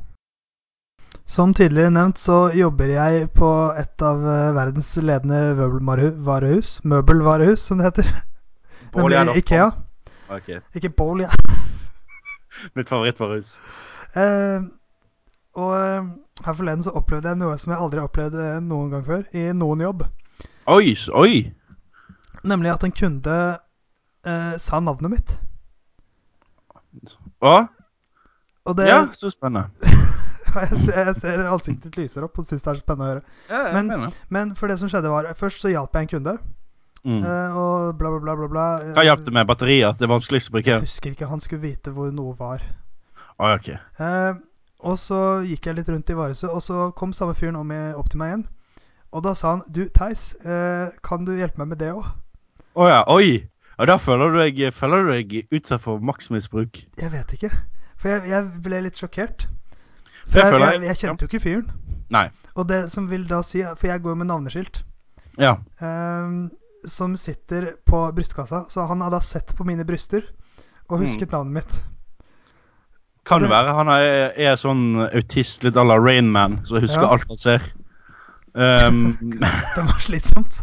Speaker 1: som tidligere nevnt så jobber jeg på et av eh, verdens ledende møbelvarehus. Møbelvarehus, som det heter. Nemlig eh, Ikea.
Speaker 2: Ok,
Speaker 1: Ikke Bowl, ja.
Speaker 2: Mitt favorittvarehus.
Speaker 1: Eh, og eh, her forleden så opplevde jeg noe som jeg aldri har opplevd eh, noen gang før i noen jobb.
Speaker 2: Oi, s- oi!
Speaker 1: Nemlig at en kunde eh, sa navnet mitt.
Speaker 2: Å,
Speaker 1: Og det
Speaker 2: ja, så spennende.
Speaker 1: [LAUGHS] jeg, ser, jeg ser ansiktet ditt lyser opp og syns det er så spennende å høre.
Speaker 2: Ja, ja,
Speaker 1: Men-
Speaker 2: spennende.
Speaker 1: Men for det som skjedde, var Først så hjalp jeg en kunde,
Speaker 2: Mm.
Speaker 1: eh, og bla, bla, bla, bla. bla. eh,
Speaker 2: Hva hjalp det med batterier? Det er vanskeligst å bruke.
Speaker 1: Jeg husker ikke. Han skulle vite hvor noe var.
Speaker 2: Å, ja, ok.
Speaker 1: Eh, Og så gikk jeg litt rundt i varehuset, og så kom samme fyren om i- opp til meg igjen. Og da sa han Du, Theis, eh, kan du hjelpe meg med det òg?
Speaker 2: Å ja, oi! Ja, da føler du deg, føler du deg utsatt for maksmisbruk.
Speaker 1: Jeg vet ikke. For jeg, jeg ble litt sjokkert. For
Speaker 2: Jeg
Speaker 1: jeg,
Speaker 2: føler-
Speaker 1: jeg, jeg kjente jo ikke fyren.
Speaker 2: Nei.
Speaker 1: Og det som vil da si For jeg går jo med navneskilt.
Speaker 2: Ja.
Speaker 1: ehm, som sitter på brystkassa. Så han har da sett på mine bryster og husket navnet mitt. [LAUGHS]
Speaker 2: Kan
Speaker 1: Det-
Speaker 2: være. Han er, er sånn autist litt à la Rainman, som husker
Speaker 1: Ja.
Speaker 2: alt han ser. Ehm, [LAUGHS]
Speaker 1: Det var slitsomt.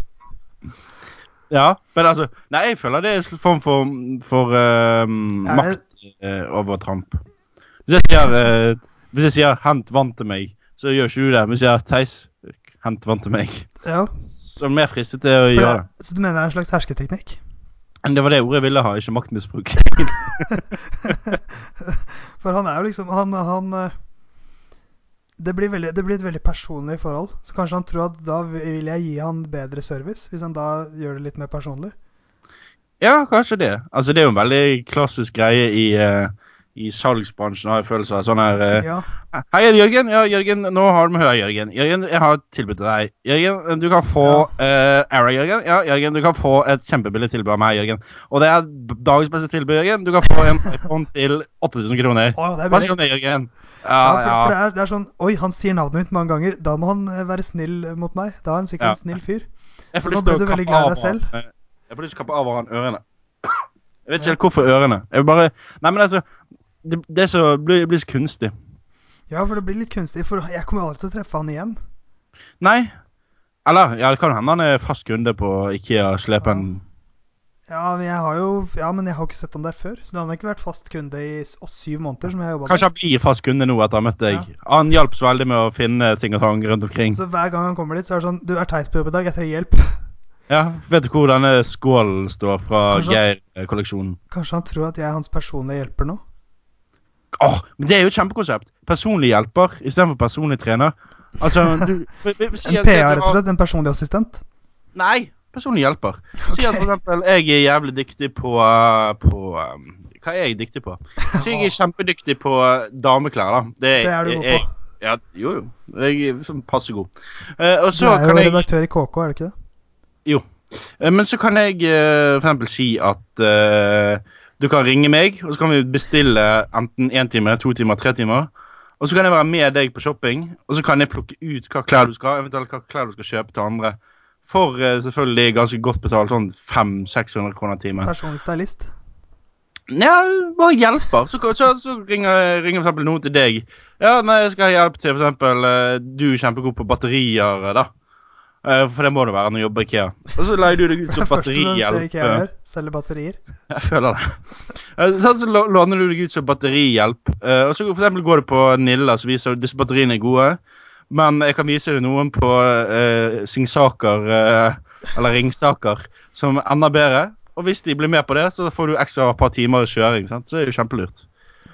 Speaker 2: ja, men altså Nei, jeg føler det er en form for, for ehm,
Speaker 1: Er det-
Speaker 2: makt eh, over Trump. Hvis jeg sier, eh, hvis jeg sier 'hent vann til meg', så gjør ikke du det. Men hvis jeg sier 'Theis, hent vann til meg',
Speaker 1: Ja.
Speaker 2: så er du mer fristet til å
Speaker 1: for
Speaker 2: gjøre det.
Speaker 1: det- Så du mener det er en slags hersketeknikk?
Speaker 2: Men det var det ordet jeg ville ha, ikke maktmisbruk.
Speaker 1: For han er jo liksom Han, han eh, det blir, veldig, det blir et veldig personlig forhold. Så kanskje han tror at da vil jeg gi han bedre service, hvis han da gjør det litt mer personlig.
Speaker 2: [LAUGHS] Ja, kanskje det. Altså, det er jo en veldig klassisk greie i, eh, i salgsbransjen, har jeg følelse av. Sånn her eh,
Speaker 1: Ja,
Speaker 2: Hei, Jørgen. Ja, Jørgen, nå har du med høre, Jørgen. Jørgen, jeg har et tilbud til deg. Jørgen, du kan få eh, Ara, Jørgen. Ja, Jørgen, du kan få et kjempebillig tilbud av meg, Jørgen. Og det er dagens beste tilbud, Jørgen. Du kan få en iPhone til 8000 kroner.
Speaker 1: Å, det er
Speaker 2: Hva
Speaker 1: billig.
Speaker 2: sier du om det, Jørgen?
Speaker 1: Ja, for, for
Speaker 2: Ja,
Speaker 1: det, er, det er sånn Oi, han sier navnet mitt mange ganger. Da må han eh, være snill mot meg. Da er han sikkert
Speaker 2: Ja.
Speaker 1: en snill fyr.
Speaker 2: ja. Jeg
Speaker 1: så nå ble du veldig glad i deg
Speaker 2: han- eh, Jeg får lyst til å kappe av han ørene. Jeg vet ikke helt hvorfor ørene. Jeg vil bare Nei, men altså Det, det er så blir, blir så kunstig.
Speaker 1: Ja, for det blir litt kunstig, for jeg kommer jo aldri til å treffe han igjen.
Speaker 2: Nei. Eller ja, det kan hende han er fast kunde på Ikea-slepen.
Speaker 1: Ja, men jeg har jo ja, men jeg har jo ikke sett han der før, så han har ikke vært fast kunde i s- og syv måneder. som jeg har jobbet
Speaker 2: Kanskje han blir fast kunde nå etter å ha møtt deg. Han hjalp så veldig med å finne ting og tang rundt omkring.
Speaker 1: med. Så hver gang han kommer dit, så er det sånn Du er teis på jobb i dag, jeg trenger hjelp.
Speaker 2: Ja, Vet du hvor denne skålen står fra
Speaker 1: Kanskje-
Speaker 2: Geir-kolleksjonen?
Speaker 1: Kanskje han tror at jeg er hans personlige hjelper nå?
Speaker 2: Åh, men Det er jo et kjempekonsept! Personlig hjelper istedenfor personlig trener. Altså,
Speaker 1: [LAUGHS]
Speaker 2: du vi- vi- si- si
Speaker 1: En
Speaker 2: at du
Speaker 1: PR, rett og
Speaker 2: har-
Speaker 1: slett? En personlig assistent?
Speaker 2: Nei, personlig hjelper. Si at for eksempel jeg er jævlig dyktig på, eh, på eh, Hva er jeg dyktig på? Si
Speaker 1: [LAUGHS]
Speaker 2: jeg er kjempedyktig på eh, dameklær, da.
Speaker 1: Det er du god
Speaker 2: jeg-
Speaker 1: på.
Speaker 2: Ja, jo, jo. Jeg er sånn passe god. Eh, og
Speaker 1: Du
Speaker 2: så
Speaker 1: er
Speaker 2: kan
Speaker 1: jo
Speaker 2: jeg,
Speaker 1: redaktør i KK, er du ikke det?
Speaker 2: eh, men så kan jeg eh, for eksempel si at eh, du kan ringe meg, og så kan vi bestille enten én time, to timer, tre timer. Og så kan jeg være med deg på shopping, og så kan jeg plukke ut hva klær du skal ha, eventuelt hva klær du skal kjøpe til andre. For eh, selvfølgelig ganske godt betalt, sånn 500-600 kroner timen.
Speaker 1: Personlig
Speaker 2: [LAUGHS]
Speaker 1: stylist?
Speaker 2: Ja, bare hjelper. Så, så, så ringer, ringer for eksempel noen til deg. Ja, nei, jeg skal ha hjelp til for eksempel eh, Du er kjempegod på batterier, eh, da. Eh, For det må det være når du jobber i IKEA. Og så leier du deg ut
Speaker 1: Det
Speaker 2: som
Speaker 1: [LAUGHS] er først og fremst det
Speaker 2: batterihjelp. eh.
Speaker 1: IKEA gjør. Selger batterier.
Speaker 2: [LAUGHS] Jeg føler det. Eh, Sånn så lå- låner du deg ut som batterihjelp. Eh, Og så for eksempel går du på Nilla, så viser du disse batteriene er gode. Men jeg kan vise deg noen på eh, Singsaker eh, eller Ringsaker som er enda bedre. Og hvis de blir med på det, så får du ekstra par timer kjøring. sant? Så det er jo kjempelurt.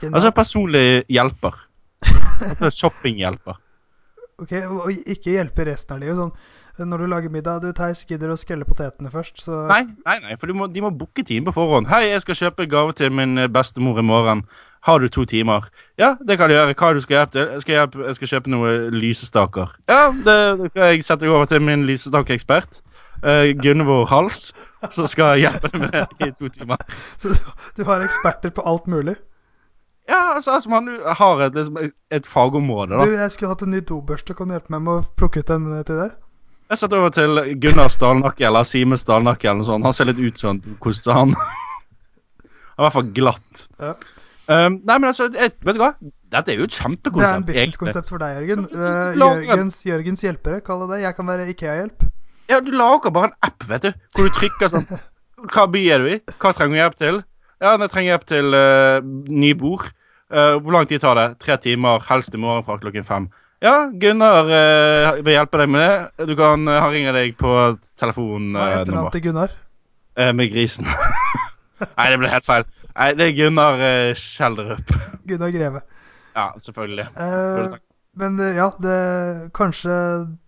Speaker 2: Altså
Speaker 1: Genialt.
Speaker 2: personlig hjelper. Altså shoppinghjelper.
Speaker 1: Ok, og ikke hjelpe resten av livet. Sånn når du lager middag Du, Theis, gidder du å skrelle potetene først, så
Speaker 2: Nei, nei, nei, for du må, de må booke time på forhånd. 'Hei, jeg skal kjøpe gave til min eh, bestemor i morgen. Har du to timer?' 'Ja, det kan du gjøre. Hva er det du skal hjelpe til?' jeg skal, hjelpe, 'Jeg skal kjøpe noen lysestaker.' 'Ja, det, da kan jeg sette deg over til min lysestakeekspert, eh, Gunvor Hals, som skal hjelpe deg med det i to timer.'
Speaker 1: Så du, du har eksperter på alt mulig.
Speaker 2: Ja, altså, altså man har et, liksom, et- et fagområde,
Speaker 1: Du,
Speaker 2: da.
Speaker 1: jeg skulle hatt en ny dobørste. Kan du hjelpe meg med å plukke ut en eh, til det?
Speaker 2: Jeg setter over til Gunnar Stalnakke eller Simen Stalnakke eller noe sånt. Han ser litt ut sånn, hvordan ser han? [LAUGHS] Han er i hvert fall glatt.
Speaker 1: Ja.
Speaker 2: Um, nei, men altså, jeg, vet du hva? Dette er jo et kjempekonsept.
Speaker 1: Det er en
Speaker 2: egentlig.
Speaker 1: businesskonsept for deg, Jørgen. Eh,
Speaker 2: Lager en-
Speaker 1: Jørgens, Jørgens hjelpere, kall det det. Jeg kan være IKEA-hjelp.
Speaker 2: Ja, du lager bare en app, vet du, hvor du trykker sånn
Speaker 1: [LAUGHS]
Speaker 2: Hva by er du i? Hva trenger du hjelp til? Ja, jeg trenger hjelp til uh, ny bord. Eh, hvor lang tid tar det? Tre timer, helst i morgen fra klokken fem. Ja, Gunnar eh, vil hjelpe deg med det. Du kan eh, Han ringer deg på
Speaker 1: Hva heter han
Speaker 2: telefonnummer.
Speaker 1: til Gunnar?
Speaker 2: Eh, med grisen. [LAUGHS] Nei, det ble helt feil. Nei, det er Gunnar eh, Kjelderup.
Speaker 1: Gunnar Greve.
Speaker 2: Ja, selvfølgelig.
Speaker 1: Eh,
Speaker 2: takk.
Speaker 1: men eh, ja, det kanskje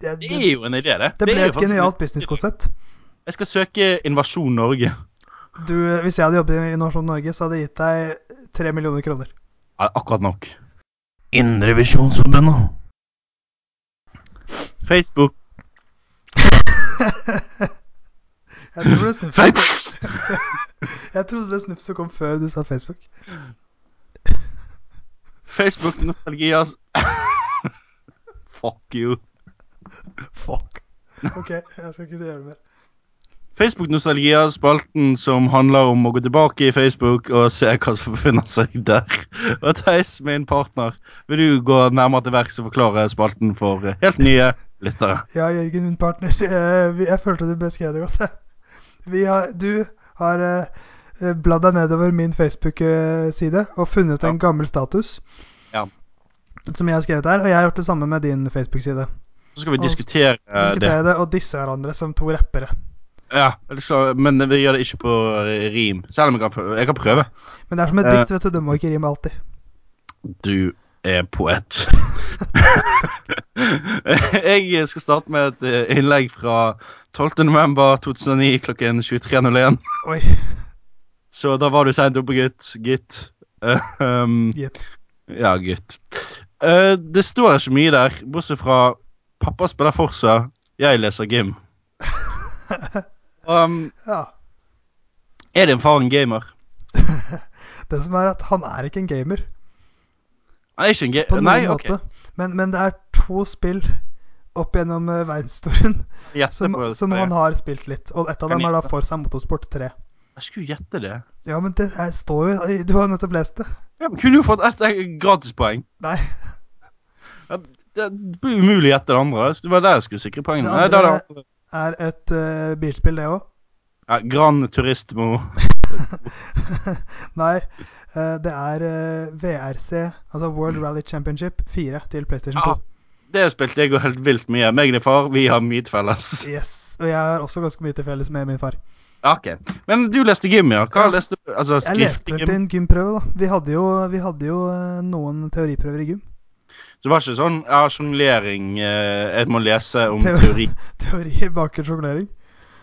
Speaker 1: Det,
Speaker 2: Det
Speaker 1: det,
Speaker 2: er jo en idé, det.
Speaker 1: det
Speaker 2: er
Speaker 1: ble
Speaker 2: jo
Speaker 1: et
Speaker 2: faktisk-
Speaker 1: genialt businesskonsept.
Speaker 2: Jeg skal søke Invasjon Norge.
Speaker 1: Du, eh, Hvis jeg hadde jobbet i Innovasjon Norge, så hadde jeg gitt deg tre millioner kroner.
Speaker 2: Ja, akkurat nok.
Speaker 3: Indrevisjonsforbundet.
Speaker 1: [LAUGHS]
Speaker 2: Facebook.
Speaker 1: [LAUGHS] Jeg tror det snufset Jeg trodde det snufset kom før du sa Facebook.
Speaker 2: Facebook-nostalgi, altså. [LAUGHS] Fuck you.
Speaker 1: Fuck. Ok, jeg skal ikke gjøre det mer.
Speaker 2: Facebook-nostalgi er spalten som handler om å gå tilbake i Facebook og se hva som befinner seg der. Og Theis, min partner, vil du gå nærmere til verks og forklare spalten for eh, helt nye lyttere?
Speaker 1: Ja, Jørgen, min partner. [LAUGHS] eh, vi- Jeg følte du beskrev det godt. jeg. Vi har, du har eh, eh, bladd deg nedover min Facebook-side og funnet en gammel status.
Speaker 2: Ja.
Speaker 1: Som jeg har skrevet her. Og jeg har gjort det samme med din Facebook-side.
Speaker 2: Så skal vi diskutere eh, det.
Speaker 1: Diskutere det og disse hverandre som to rappere.
Speaker 2: Ja, så, Men vi gjør det ikke på eh, rim, selv om jeg kan, prø- jeg kan prøve.
Speaker 1: Men det er som et
Speaker 2: Eh.
Speaker 1: dikt, vet du. Det må ikke rime alltid.
Speaker 2: Du er poet. [LAUGHS] jeg skal starte med et eh, innlegg fra 12. november 2009 klokken 23.01.
Speaker 1: Oi.
Speaker 2: Så da var du seint oppe, gutt. [LAUGHS] Gitt. Eh, um,
Speaker 1: Gitt.
Speaker 2: ja, gitt. Eh, det står ikke mye der, bortsett fra 'Pappa spiller Forsa, jeg leser [LAUGHS] gym'. um,
Speaker 1: Ja.
Speaker 2: er din far en gamer?
Speaker 1: Det som er at han er ikke en gamer.
Speaker 2: Han er ikke en
Speaker 1: På
Speaker 2: gamer.
Speaker 1: noen
Speaker 2: Eh, Nei, ok.
Speaker 1: måte. Men, men det er to spill opp gjennom eh, verdenshistorien
Speaker 2: Gjette
Speaker 1: som,
Speaker 2: på [LAUGHS] det.
Speaker 1: som han har spilt litt. Og et av
Speaker 2: Kan
Speaker 1: dem er da
Speaker 2: gjette.
Speaker 1: Forsa Motorsport 3.
Speaker 2: Jeg skulle gjette det.
Speaker 1: Ja, men det er, står jo i- Du har jo nettopp lest det.
Speaker 2: Ja, men kunne jo fått ett eh, gratispoeng.
Speaker 1: Nei.
Speaker 2: Det blir umulig å gjette det andre. Så det var der jeg skulle sikre poengene.
Speaker 1: Det
Speaker 2: Nei, da er
Speaker 1: andre-
Speaker 2: det andre.
Speaker 1: Er et eh, bilspill, det òg.
Speaker 2: Ja, Gran Turismo.
Speaker 1: [LAUGHS] Nei, eh, det er eh, VRC, altså
Speaker 2: Mm.
Speaker 1: World Rally Championship 4 til PlayStation 2.
Speaker 2: Ah. Det spilte jeg jo helt vilt mye. Meg og din far, vi har mye til felles.
Speaker 1: Yes, Og jeg har også ganske mye til felles med min far.
Speaker 2: Ok. Men du leste gym, ja. Hva
Speaker 1: Ja.
Speaker 2: leste du? Altså,
Speaker 1: Jeg leste
Speaker 2: skriftlig
Speaker 1: vel til
Speaker 2: gym?
Speaker 1: en gymprøve, da. Vi hadde jo, vi hadde jo eh, noen teoriprøver i gym. [LAUGHS]
Speaker 2: Det var ikke sånn ja, sjonglering eh, Jeg må lese om
Speaker 1: Teo-
Speaker 2: teori.
Speaker 1: Teori baker sjonglering.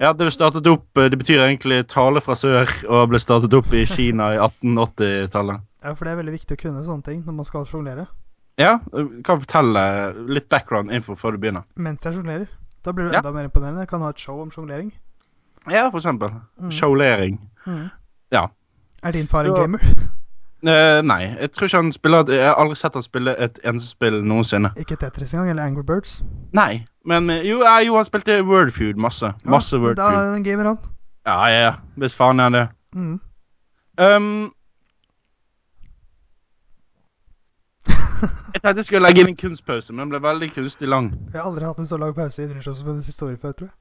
Speaker 2: Ja, det ble startet opp eh, Det betyr egentlig tale fra sør og ble startet opp i Kina
Speaker 1: [LAUGHS]
Speaker 2: i 1880-tallet.
Speaker 1: Ja, for det er veldig viktig å kunne sånne ting når man skal sjonglere.
Speaker 2: Ja, eh, kan fortelle litt background info før du begynner.
Speaker 1: Mens jeg sjonglerer. Da blir det
Speaker 2: Ja.
Speaker 1: enda mer imponerende. Jeg kan ha et show om sjonglering.
Speaker 2: Ja, for eksempel.
Speaker 1: Mm.
Speaker 2: Sjonglering.
Speaker 1: Mm.
Speaker 2: Ja.
Speaker 1: Er din far
Speaker 2: Så-
Speaker 1: en gamer?
Speaker 2: Eh, nei, jeg tror ikke han spiller et- Jeg har aldri sett han spille et eneste spill noensinne.
Speaker 1: Ikke Tetris engang, eller Angry Birds?
Speaker 2: Nei, men eh, jo, eh, jo han spilte Wordfeud masse. Masse
Speaker 1: ja, men Da
Speaker 2: Wordfeud.
Speaker 1: er han en gamer, han.
Speaker 2: Ja, ja, ja. Hvis faen er det.
Speaker 1: Mm. [LAUGHS]
Speaker 2: Um, jeg tenkte jeg skulle legge inn en kunstpause, men den ble veldig kunstig lang.
Speaker 1: Jeg har aldri hatt en så lang pause i idrettslovens historie før, tror jeg.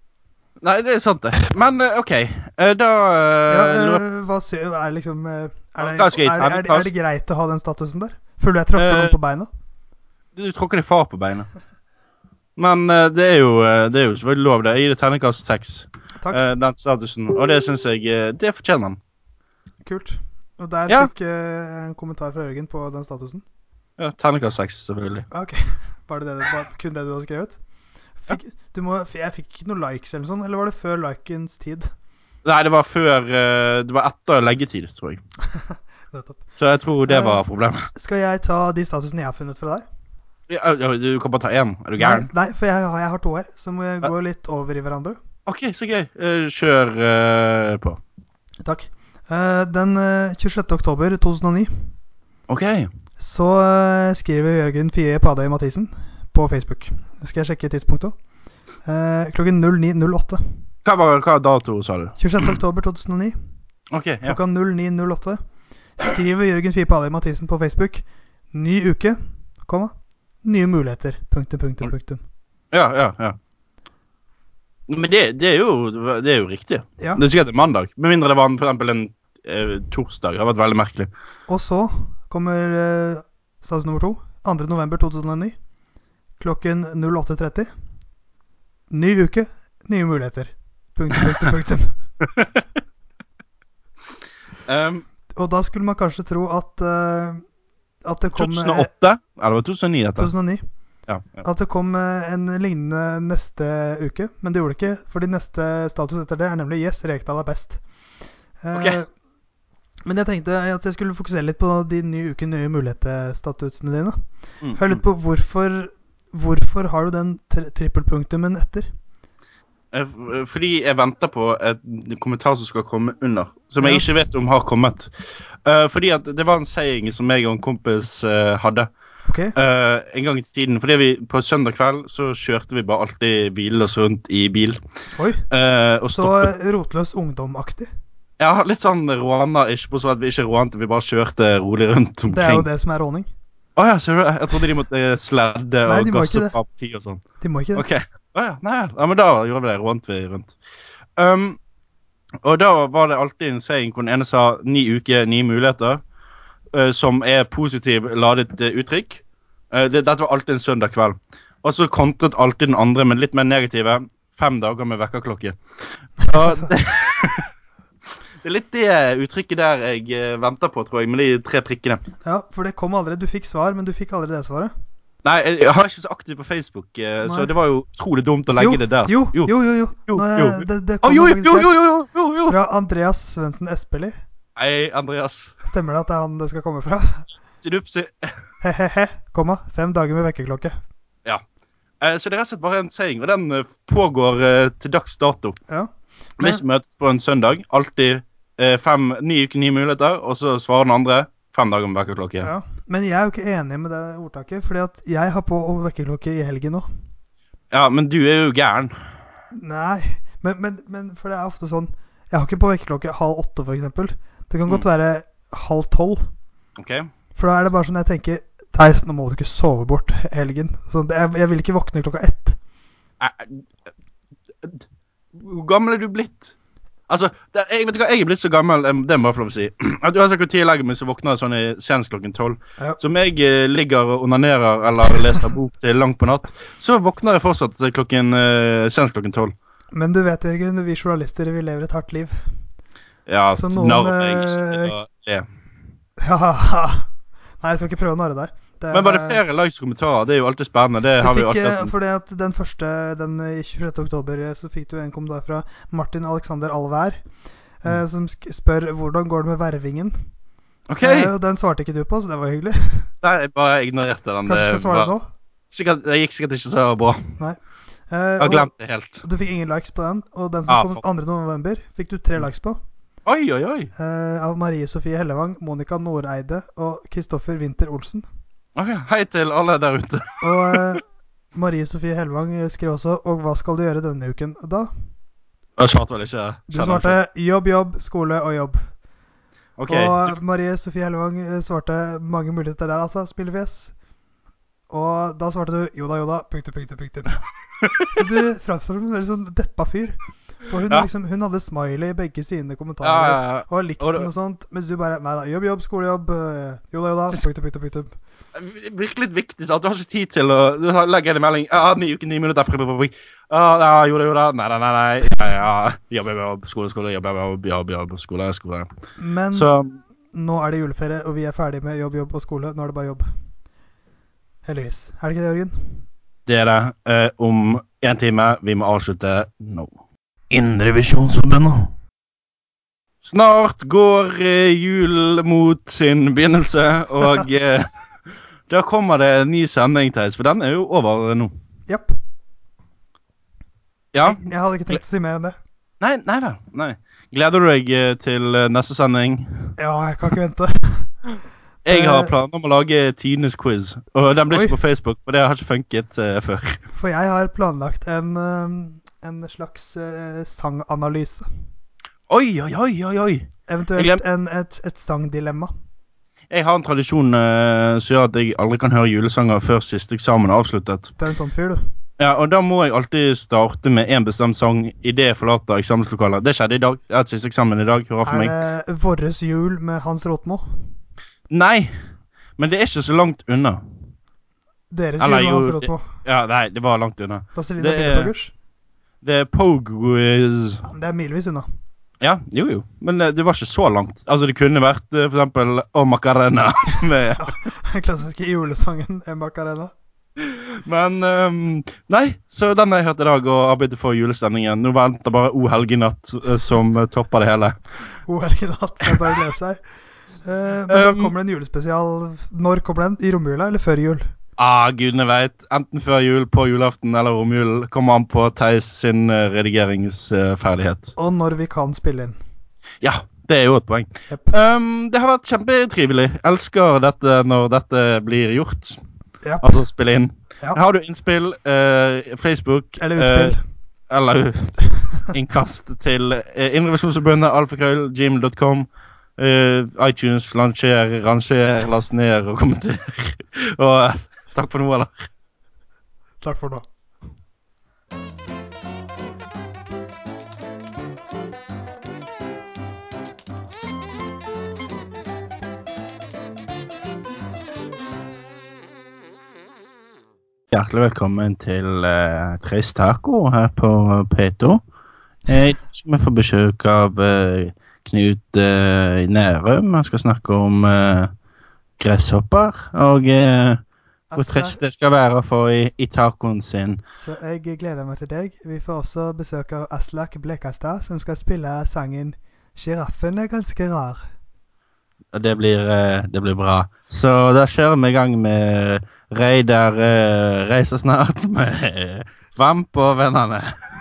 Speaker 2: Nei, det er sant, det. Men eh, OK, eh, da eh,
Speaker 1: Ja,
Speaker 2: lurer-
Speaker 1: øh, hva sy er liksom øh, er det,
Speaker 2: Hva skal jeg ta?
Speaker 1: er, er, er det greit å ha den statusen der? Føler du jeg tråkker
Speaker 2: Øh,
Speaker 1: noen på beina?
Speaker 2: Du tråkker deg far på beina. Men eh, det, er jo, eh, det er jo selvfølgelig lov, det. Jeg gir det terningkast seks,
Speaker 1: Takk.
Speaker 2: eh, den statusen. Og det syns jeg eh, Det fortjener han.
Speaker 1: Kult. Og der
Speaker 2: ja.
Speaker 1: fikk øh, en kommentar fra Jørgen på den statusen.
Speaker 2: Ja, terningkast seks, selvfølgelig.
Speaker 1: Ah, Ok, Var det, det du- var kun det du hadde skrevet? Fikk, du må, f- jeg fikk ikke noen likes eller sånn, eller var det før likens tid?
Speaker 2: Nei, det var før eh, Det var etter leggetid, tror jeg.
Speaker 1: Nettopp.
Speaker 2: Så jeg tror det var problemet.
Speaker 1: Skal jeg ta de statusene jeg har funnet fra deg?
Speaker 2: Ja, ja, du kan bare ta én. Er du gæren?
Speaker 1: Nei, nei for jeg, har- jeg har to her som øh, går litt over i hverandre.
Speaker 2: OK, så gøy. Eh, kjør eh, på.
Speaker 1: Takk. Eh, den øh, 26. oktober 2009
Speaker 2: OK.
Speaker 1: Så eh, skriver Jørgen Fie Padøy Mathisen på Facebook. Skal jeg sjekke tidspunktet òg? Eh, klokken 09.08.
Speaker 2: Hva var hva dato, sa du?
Speaker 1: 26. oktober 2009
Speaker 2: OK. ja.
Speaker 1: klokka 09.08 skriver Jørgen Fie Padøy Mathisen på Facebook Ny uke, komma, nye muligheter. Punktum, punktum, punktum.
Speaker 2: Ja, ja, ja. Men det, det, er, jo, det er jo riktig.
Speaker 1: Ja,
Speaker 2: Det er sikkert en mandag. Med mindre det var en- for eksempel en eh, torsdag. Det har vært veldig merkelig.
Speaker 1: Og så kommer eh, status nummer to. 2. november 2009 klokken 08.30. Ny uke, nye muligheter. Punktum, punktum, punktum.
Speaker 2: Ehm,
Speaker 1: Og da skulle man kanskje tro at eh, At det kom eh,
Speaker 2: 2008? Ja, det var 2009, dette.
Speaker 1: 2009.
Speaker 2: Ja, ja.
Speaker 1: At det kom eh, en lignende neste uke, men det gjorde det ikke. Fordi neste status etter det er nemlig 'Yes, Rekdal er best'. Eh,
Speaker 2: Ok.
Speaker 1: Men jeg tenkte at jeg skulle fokusere litt på de nye uken nye mulighetsstatusene dine.
Speaker 2: Mm,
Speaker 1: Hør
Speaker 2: mm.
Speaker 1: litt på hvorfor, hvorfor har du den tri trippelpunktumen etter?
Speaker 2: Eh, f- Fordi jeg venter på et kommentar som skal komme under, som jeg
Speaker 1: Ja.
Speaker 2: ikke vet om har kommet. Eh, fordi at det var en saying som jeg og en kompis eh, hadde
Speaker 1: Ok?
Speaker 2: eh, en gang i tiden. Fordi vi på søndag kveld så kjørte vi bare alltid bilen oss rundt i bil.
Speaker 1: Oi.
Speaker 2: eh, og
Speaker 1: Så
Speaker 2: stoppet
Speaker 1: rotløs ungdomaktig.
Speaker 2: Ja, litt sånn råna, ikke på så at vi ikke rånte, vi bare kjørte rolig rundt
Speaker 1: Det er
Speaker 2: omkring.
Speaker 1: jo det som er råning.
Speaker 2: Å ja, ser du det? Jeg trodde de måtte eh, sledde
Speaker 1: Nei,
Speaker 2: og
Speaker 1: de må ikke
Speaker 2: gasse
Speaker 1: det.
Speaker 2: fra parti og sånn.
Speaker 1: De må [LAUGHS] ikke det.
Speaker 2: Ok. Å ja, nei, ja, men da gjorde vi det. Rånte vi rundt. Um, og da var det alltid en saying hvor den ene sa 'ni uker, ni muligheter', eh, som er positiv ladet eh, uttrykk. Eh, det, dette var alltid en søndag kveld. Og så kontret alltid den andre med litt mer negative 'fem dager med vekkerklokke'. Og [LAUGHS] det, det er litt det uttrykket der jeg eh, venter på, tror jeg, med de tre prikkene.
Speaker 1: Ja, For det kom aldri. Du fikk svar, men du fikk aldri det svaret.
Speaker 2: Nei, jeg, jeg har ikke så aktiv på Facebook, eh, så
Speaker 1: Nei.
Speaker 2: det var jo utrolig dumt å legge
Speaker 1: jo,
Speaker 2: det der.
Speaker 1: Jo, jo, eh, jo. jo,
Speaker 2: Jo,
Speaker 1: Nå er-
Speaker 2: jo.
Speaker 1: Det, det
Speaker 2: Å,
Speaker 1: kom
Speaker 2: jo, jo,
Speaker 1: faktisk
Speaker 2: jo,
Speaker 1: her.
Speaker 2: jo, jo, jo, jo.
Speaker 1: Fra Andreas Svendsen Espelid.
Speaker 2: Hei, Andreas.
Speaker 1: Stemmer det at det er han det skal komme fra? [LAUGHS]
Speaker 2: Sidupsi.
Speaker 1: He-he-he, komma. Fem dager med vekkerklokke.
Speaker 2: Eh, så det er rett og slett bare en saying, og den eh, pågår eh, til dags dato.
Speaker 1: Ja.
Speaker 2: Vi som møtes på en søndag, alltid eh, fem, ni uker, ni muligheter, og så svarer den andre fem dager med vekkerklokke.
Speaker 1: Ja. Men jeg er jo ikke enig med det ordtaket, fordi at jeg har på vekkerklokke i helgen nå.
Speaker 2: Ja, men du er jo gæren.
Speaker 1: Nei, men, men, men for det er ofte sånn Jeg har ikke på vekkerklokke halv åtte, f.eks. Det kan
Speaker 2: Mm.
Speaker 1: godt være halv tolv.
Speaker 2: OK?
Speaker 1: For da er det bare sånn jeg tenker Theis, nå må du ikke sove bort helgen. Sånn, jeg, jeg vil ikke våkne klokka ett.
Speaker 2: Eh, eh, Hvor gammel er du blitt? Altså, det, er- jeg vet ikke hva, jeg er blitt så gammel, eh, det må jeg få lov å si. [CLEARS THROAT] At uansett hvor tid jeg legger meg, så våkner jeg sånn i senest klokken tolv.
Speaker 1: Ja.
Speaker 2: Så om jeg eh, ligger og onanerer eller leser bok til langt på natt, så våkner jeg fortsatt til klokken, eh, senest klokken tolv.
Speaker 1: Men du vet, Jørgen, vi journalister vi lever et hardt [LAUGHS] liv.
Speaker 2: Ja,
Speaker 1: Så noen,
Speaker 2: narr jeg ikke
Speaker 1: eh,
Speaker 2: til å le.
Speaker 1: Nei, jeg skal ikke prøve å narre deg. Det
Speaker 2: Men var det
Speaker 1: er-
Speaker 2: flere likes og kommentarer? Det er jo alltid spennende. Det
Speaker 1: Du
Speaker 2: har vi jo
Speaker 1: fikk,
Speaker 2: alltid
Speaker 1: eh,
Speaker 2: hatt.
Speaker 1: fordi at den første, den eh, 26. oktober, eh, så fikk du en kommentar fra Martin Alexander Alvær, eh, som sk spør hvordan går det med vervingen.
Speaker 2: OK!
Speaker 1: Eh, og den svarte ikke du på, så det var hyggelig.
Speaker 2: Nei, jeg bare ignorerte den.
Speaker 1: Kanskje du skal svare
Speaker 2: var-
Speaker 1: nå?
Speaker 2: sikkert, det gikk sikkert ikke så bra.
Speaker 1: Eh,
Speaker 2: Jeg har
Speaker 1: og
Speaker 2: glemt det helt.
Speaker 1: Du fikk ingen likes på den, og den
Speaker 2: Ah,
Speaker 1: som kom
Speaker 2: fuck.
Speaker 1: 2. november, fikk du tre likes på.
Speaker 2: Oi, oi, oi.
Speaker 1: eh, av Marie Sofie Hellevang, Monica Noreide og Kristoffer Winther Olsen.
Speaker 2: Ok, Hei til alle der ute.
Speaker 1: Og eh, Marie Sofie Hellevang eh, skrev også 'Og hva skal du gjøre denne uken?' Da
Speaker 2: Jeg svarte vel ikke.
Speaker 1: du svarte 'jobb, jobb, skole og jobb'.
Speaker 2: Ok,
Speaker 1: Og eh,
Speaker 2: du,
Speaker 1: Marie Sofie Hellevang eh, svarte mange muligheter der, altså. Spillefjes. Og da svarte du jo da, jo da, punktum,
Speaker 2: [LAUGHS]
Speaker 1: punktum, punktum. Så du framstår som en veldig sånn deppa fyr. For hun,
Speaker 2: Ja.
Speaker 1: liksom, hun hadde smiley i begge sine
Speaker 2: ja, ja,
Speaker 1: kommentarer.
Speaker 2: ja.
Speaker 1: Og har likt
Speaker 2: Og det-
Speaker 1: den og sånt. Mens du bare Nei da, jobb, jobb, skolejobb. eh, Jo da, jo da. Punktum, punktum, punktum.
Speaker 2: Virkelig viktig. sant? Du har ikke tid til å du har- legger inn en melding. Ja, ni uker, ni minutter. Prøv, prøv, prøv. Ja, ja, jo da, jo da. Nei, nei, nei. nei. Ja, ja. Jobb, jobb, jobb. Skole, skole. Jobb, jobb, jobb, jobb, jobb. Skole, skole.
Speaker 1: Men
Speaker 2: Så
Speaker 1: nå er det juleferie, og vi er ferdig med jobb, jobb og skole. Nå er det bare jobb. Heldigvis. Er det ikke det, Jørgen?
Speaker 2: dere, eh, om én time, vi må avslutte nå.
Speaker 3: Indrevisjonsforbundet.
Speaker 2: Snart går eh, julen mot sin begynnelse, og eh, da kommer det en ny sending, Theis, for den er jo over nå.
Speaker 1: Japp.
Speaker 2: Ja?
Speaker 1: Jeg hadde ikke tenkt å si mer enn det.
Speaker 2: Nei, nei da. Nei. Gleder du deg eh, til eh, neste sending?
Speaker 1: Ja, jeg kan ikke vente.
Speaker 2: Jeg har
Speaker 1: Eh.
Speaker 2: planer om å lage tidenes quiz, og den blir
Speaker 1: Oi.
Speaker 2: ikke på Facebook, for det har ikke funket eh, før.
Speaker 1: For jeg har planlagt en, eh, en slags eh, sanganalyse.
Speaker 2: Oi, oi, oi, oi, oi. Jeg
Speaker 1: Eventuelt en, et, et sangdilemma.
Speaker 2: Jeg har en tradisjon eh, som gjør at jeg aldri kan høre julesanger før siste eksamen er avsluttet.
Speaker 1: Du er en sånn fyr, du.
Speaker 2: Ja, og da må jeg alltid starte med én bestemt sang idet jeg forlater eksamenslokalet. Det skjedde i dag. Jeg har hatt siste eksamen i dag. Hurra for meg.
Speaker 1: Er det Vårres jul med Hans Rotmo?
Speaker 2: Nei, men det er ikke så langt unna.
Speaker 1: Deres
Speaker 2: Eller
Speaker 1: jul med Hans
Speaker 2: jo, det-
Speaker 1: Rotmo.
Speaker 2: Ja, nei, det var langt unna.
Speaker 1: Da Selina
Speaker 2: det er-
Speaker 1: Bildebaggers.
Speaker 2: Det er Poguiz.
Speaker 1: Ja, men Det er milevis unna. [LAUGHS]
Speaker 2: Ja, jo jo, men eh, det var ikke så langt. Altså, det kunne vært eh, for eksempel O Macarena [LAUGHS] med
Speaker 1: Den klassiske julesangen eh, Macarena.
Speaker 2: Men ehm, Nei, så den har jeg hørt i dag og arbeidet for julestemningen. Nå venter bare O helgenatt eh, som eh, topper det hele.
Speaker 1: God helgenatt. Det er bare å glede seg. Eh, men da
Speaker 2: Um,
Speaker 1: kommer det en julespesial. Når kommer den? I romjula eller før jul?
Speaker 2: Ah, gudene veit. Enten før jul, på julaften eller om julen. Kommer an på Theis sin eh, redigeringsferdighet.
Speaker 1: Og når vi kan spille inn.
Speaker 2: Ja, det er jo et poeng.
Speaker 1: Jep.
Speaker 2: Ehm, det har vært kjempetrivelig. Elsker dette når dette blir gjort.
Speaker 1: Jep.
Speaker 2: Altså spille inn.
Speaker 1: Ja.
Speaker 2: Har du innspill, eh, Facebook
Speaker 1: Eller utspill.
Speaker 2: eh, eller [LAUGHS] innkast til eh, Indrevisjonsforbundet, alfakrøll, gym.com. eh, iTunes, lanser, ranger, last ned og kommenter. [LAUGHS] og eh, takk for nå, eller?
Speaker 1: Takk for nå.
Speaker 2: Hjertelig velkommen til uh, Tres Taco her på P2. Eh, I dag skal vi få besøk av eh, Knut eh, Nærum. Han skal snakke om eh, gresshopper og eh, hvor trist det skal være å få i, i tacoen sin.
Speaker 1: Så jeg gleder meg til deg. Vi får også besøk av Aslak Blekastad, som skal spille sangen 'Sjiraffen er ganske rar'.
Speaker 2: Og det blir, eh, det blir bra. Så da kjører vi i gang [LAUGHS] med Reidar eh, reiser snart med Vamp og vennene.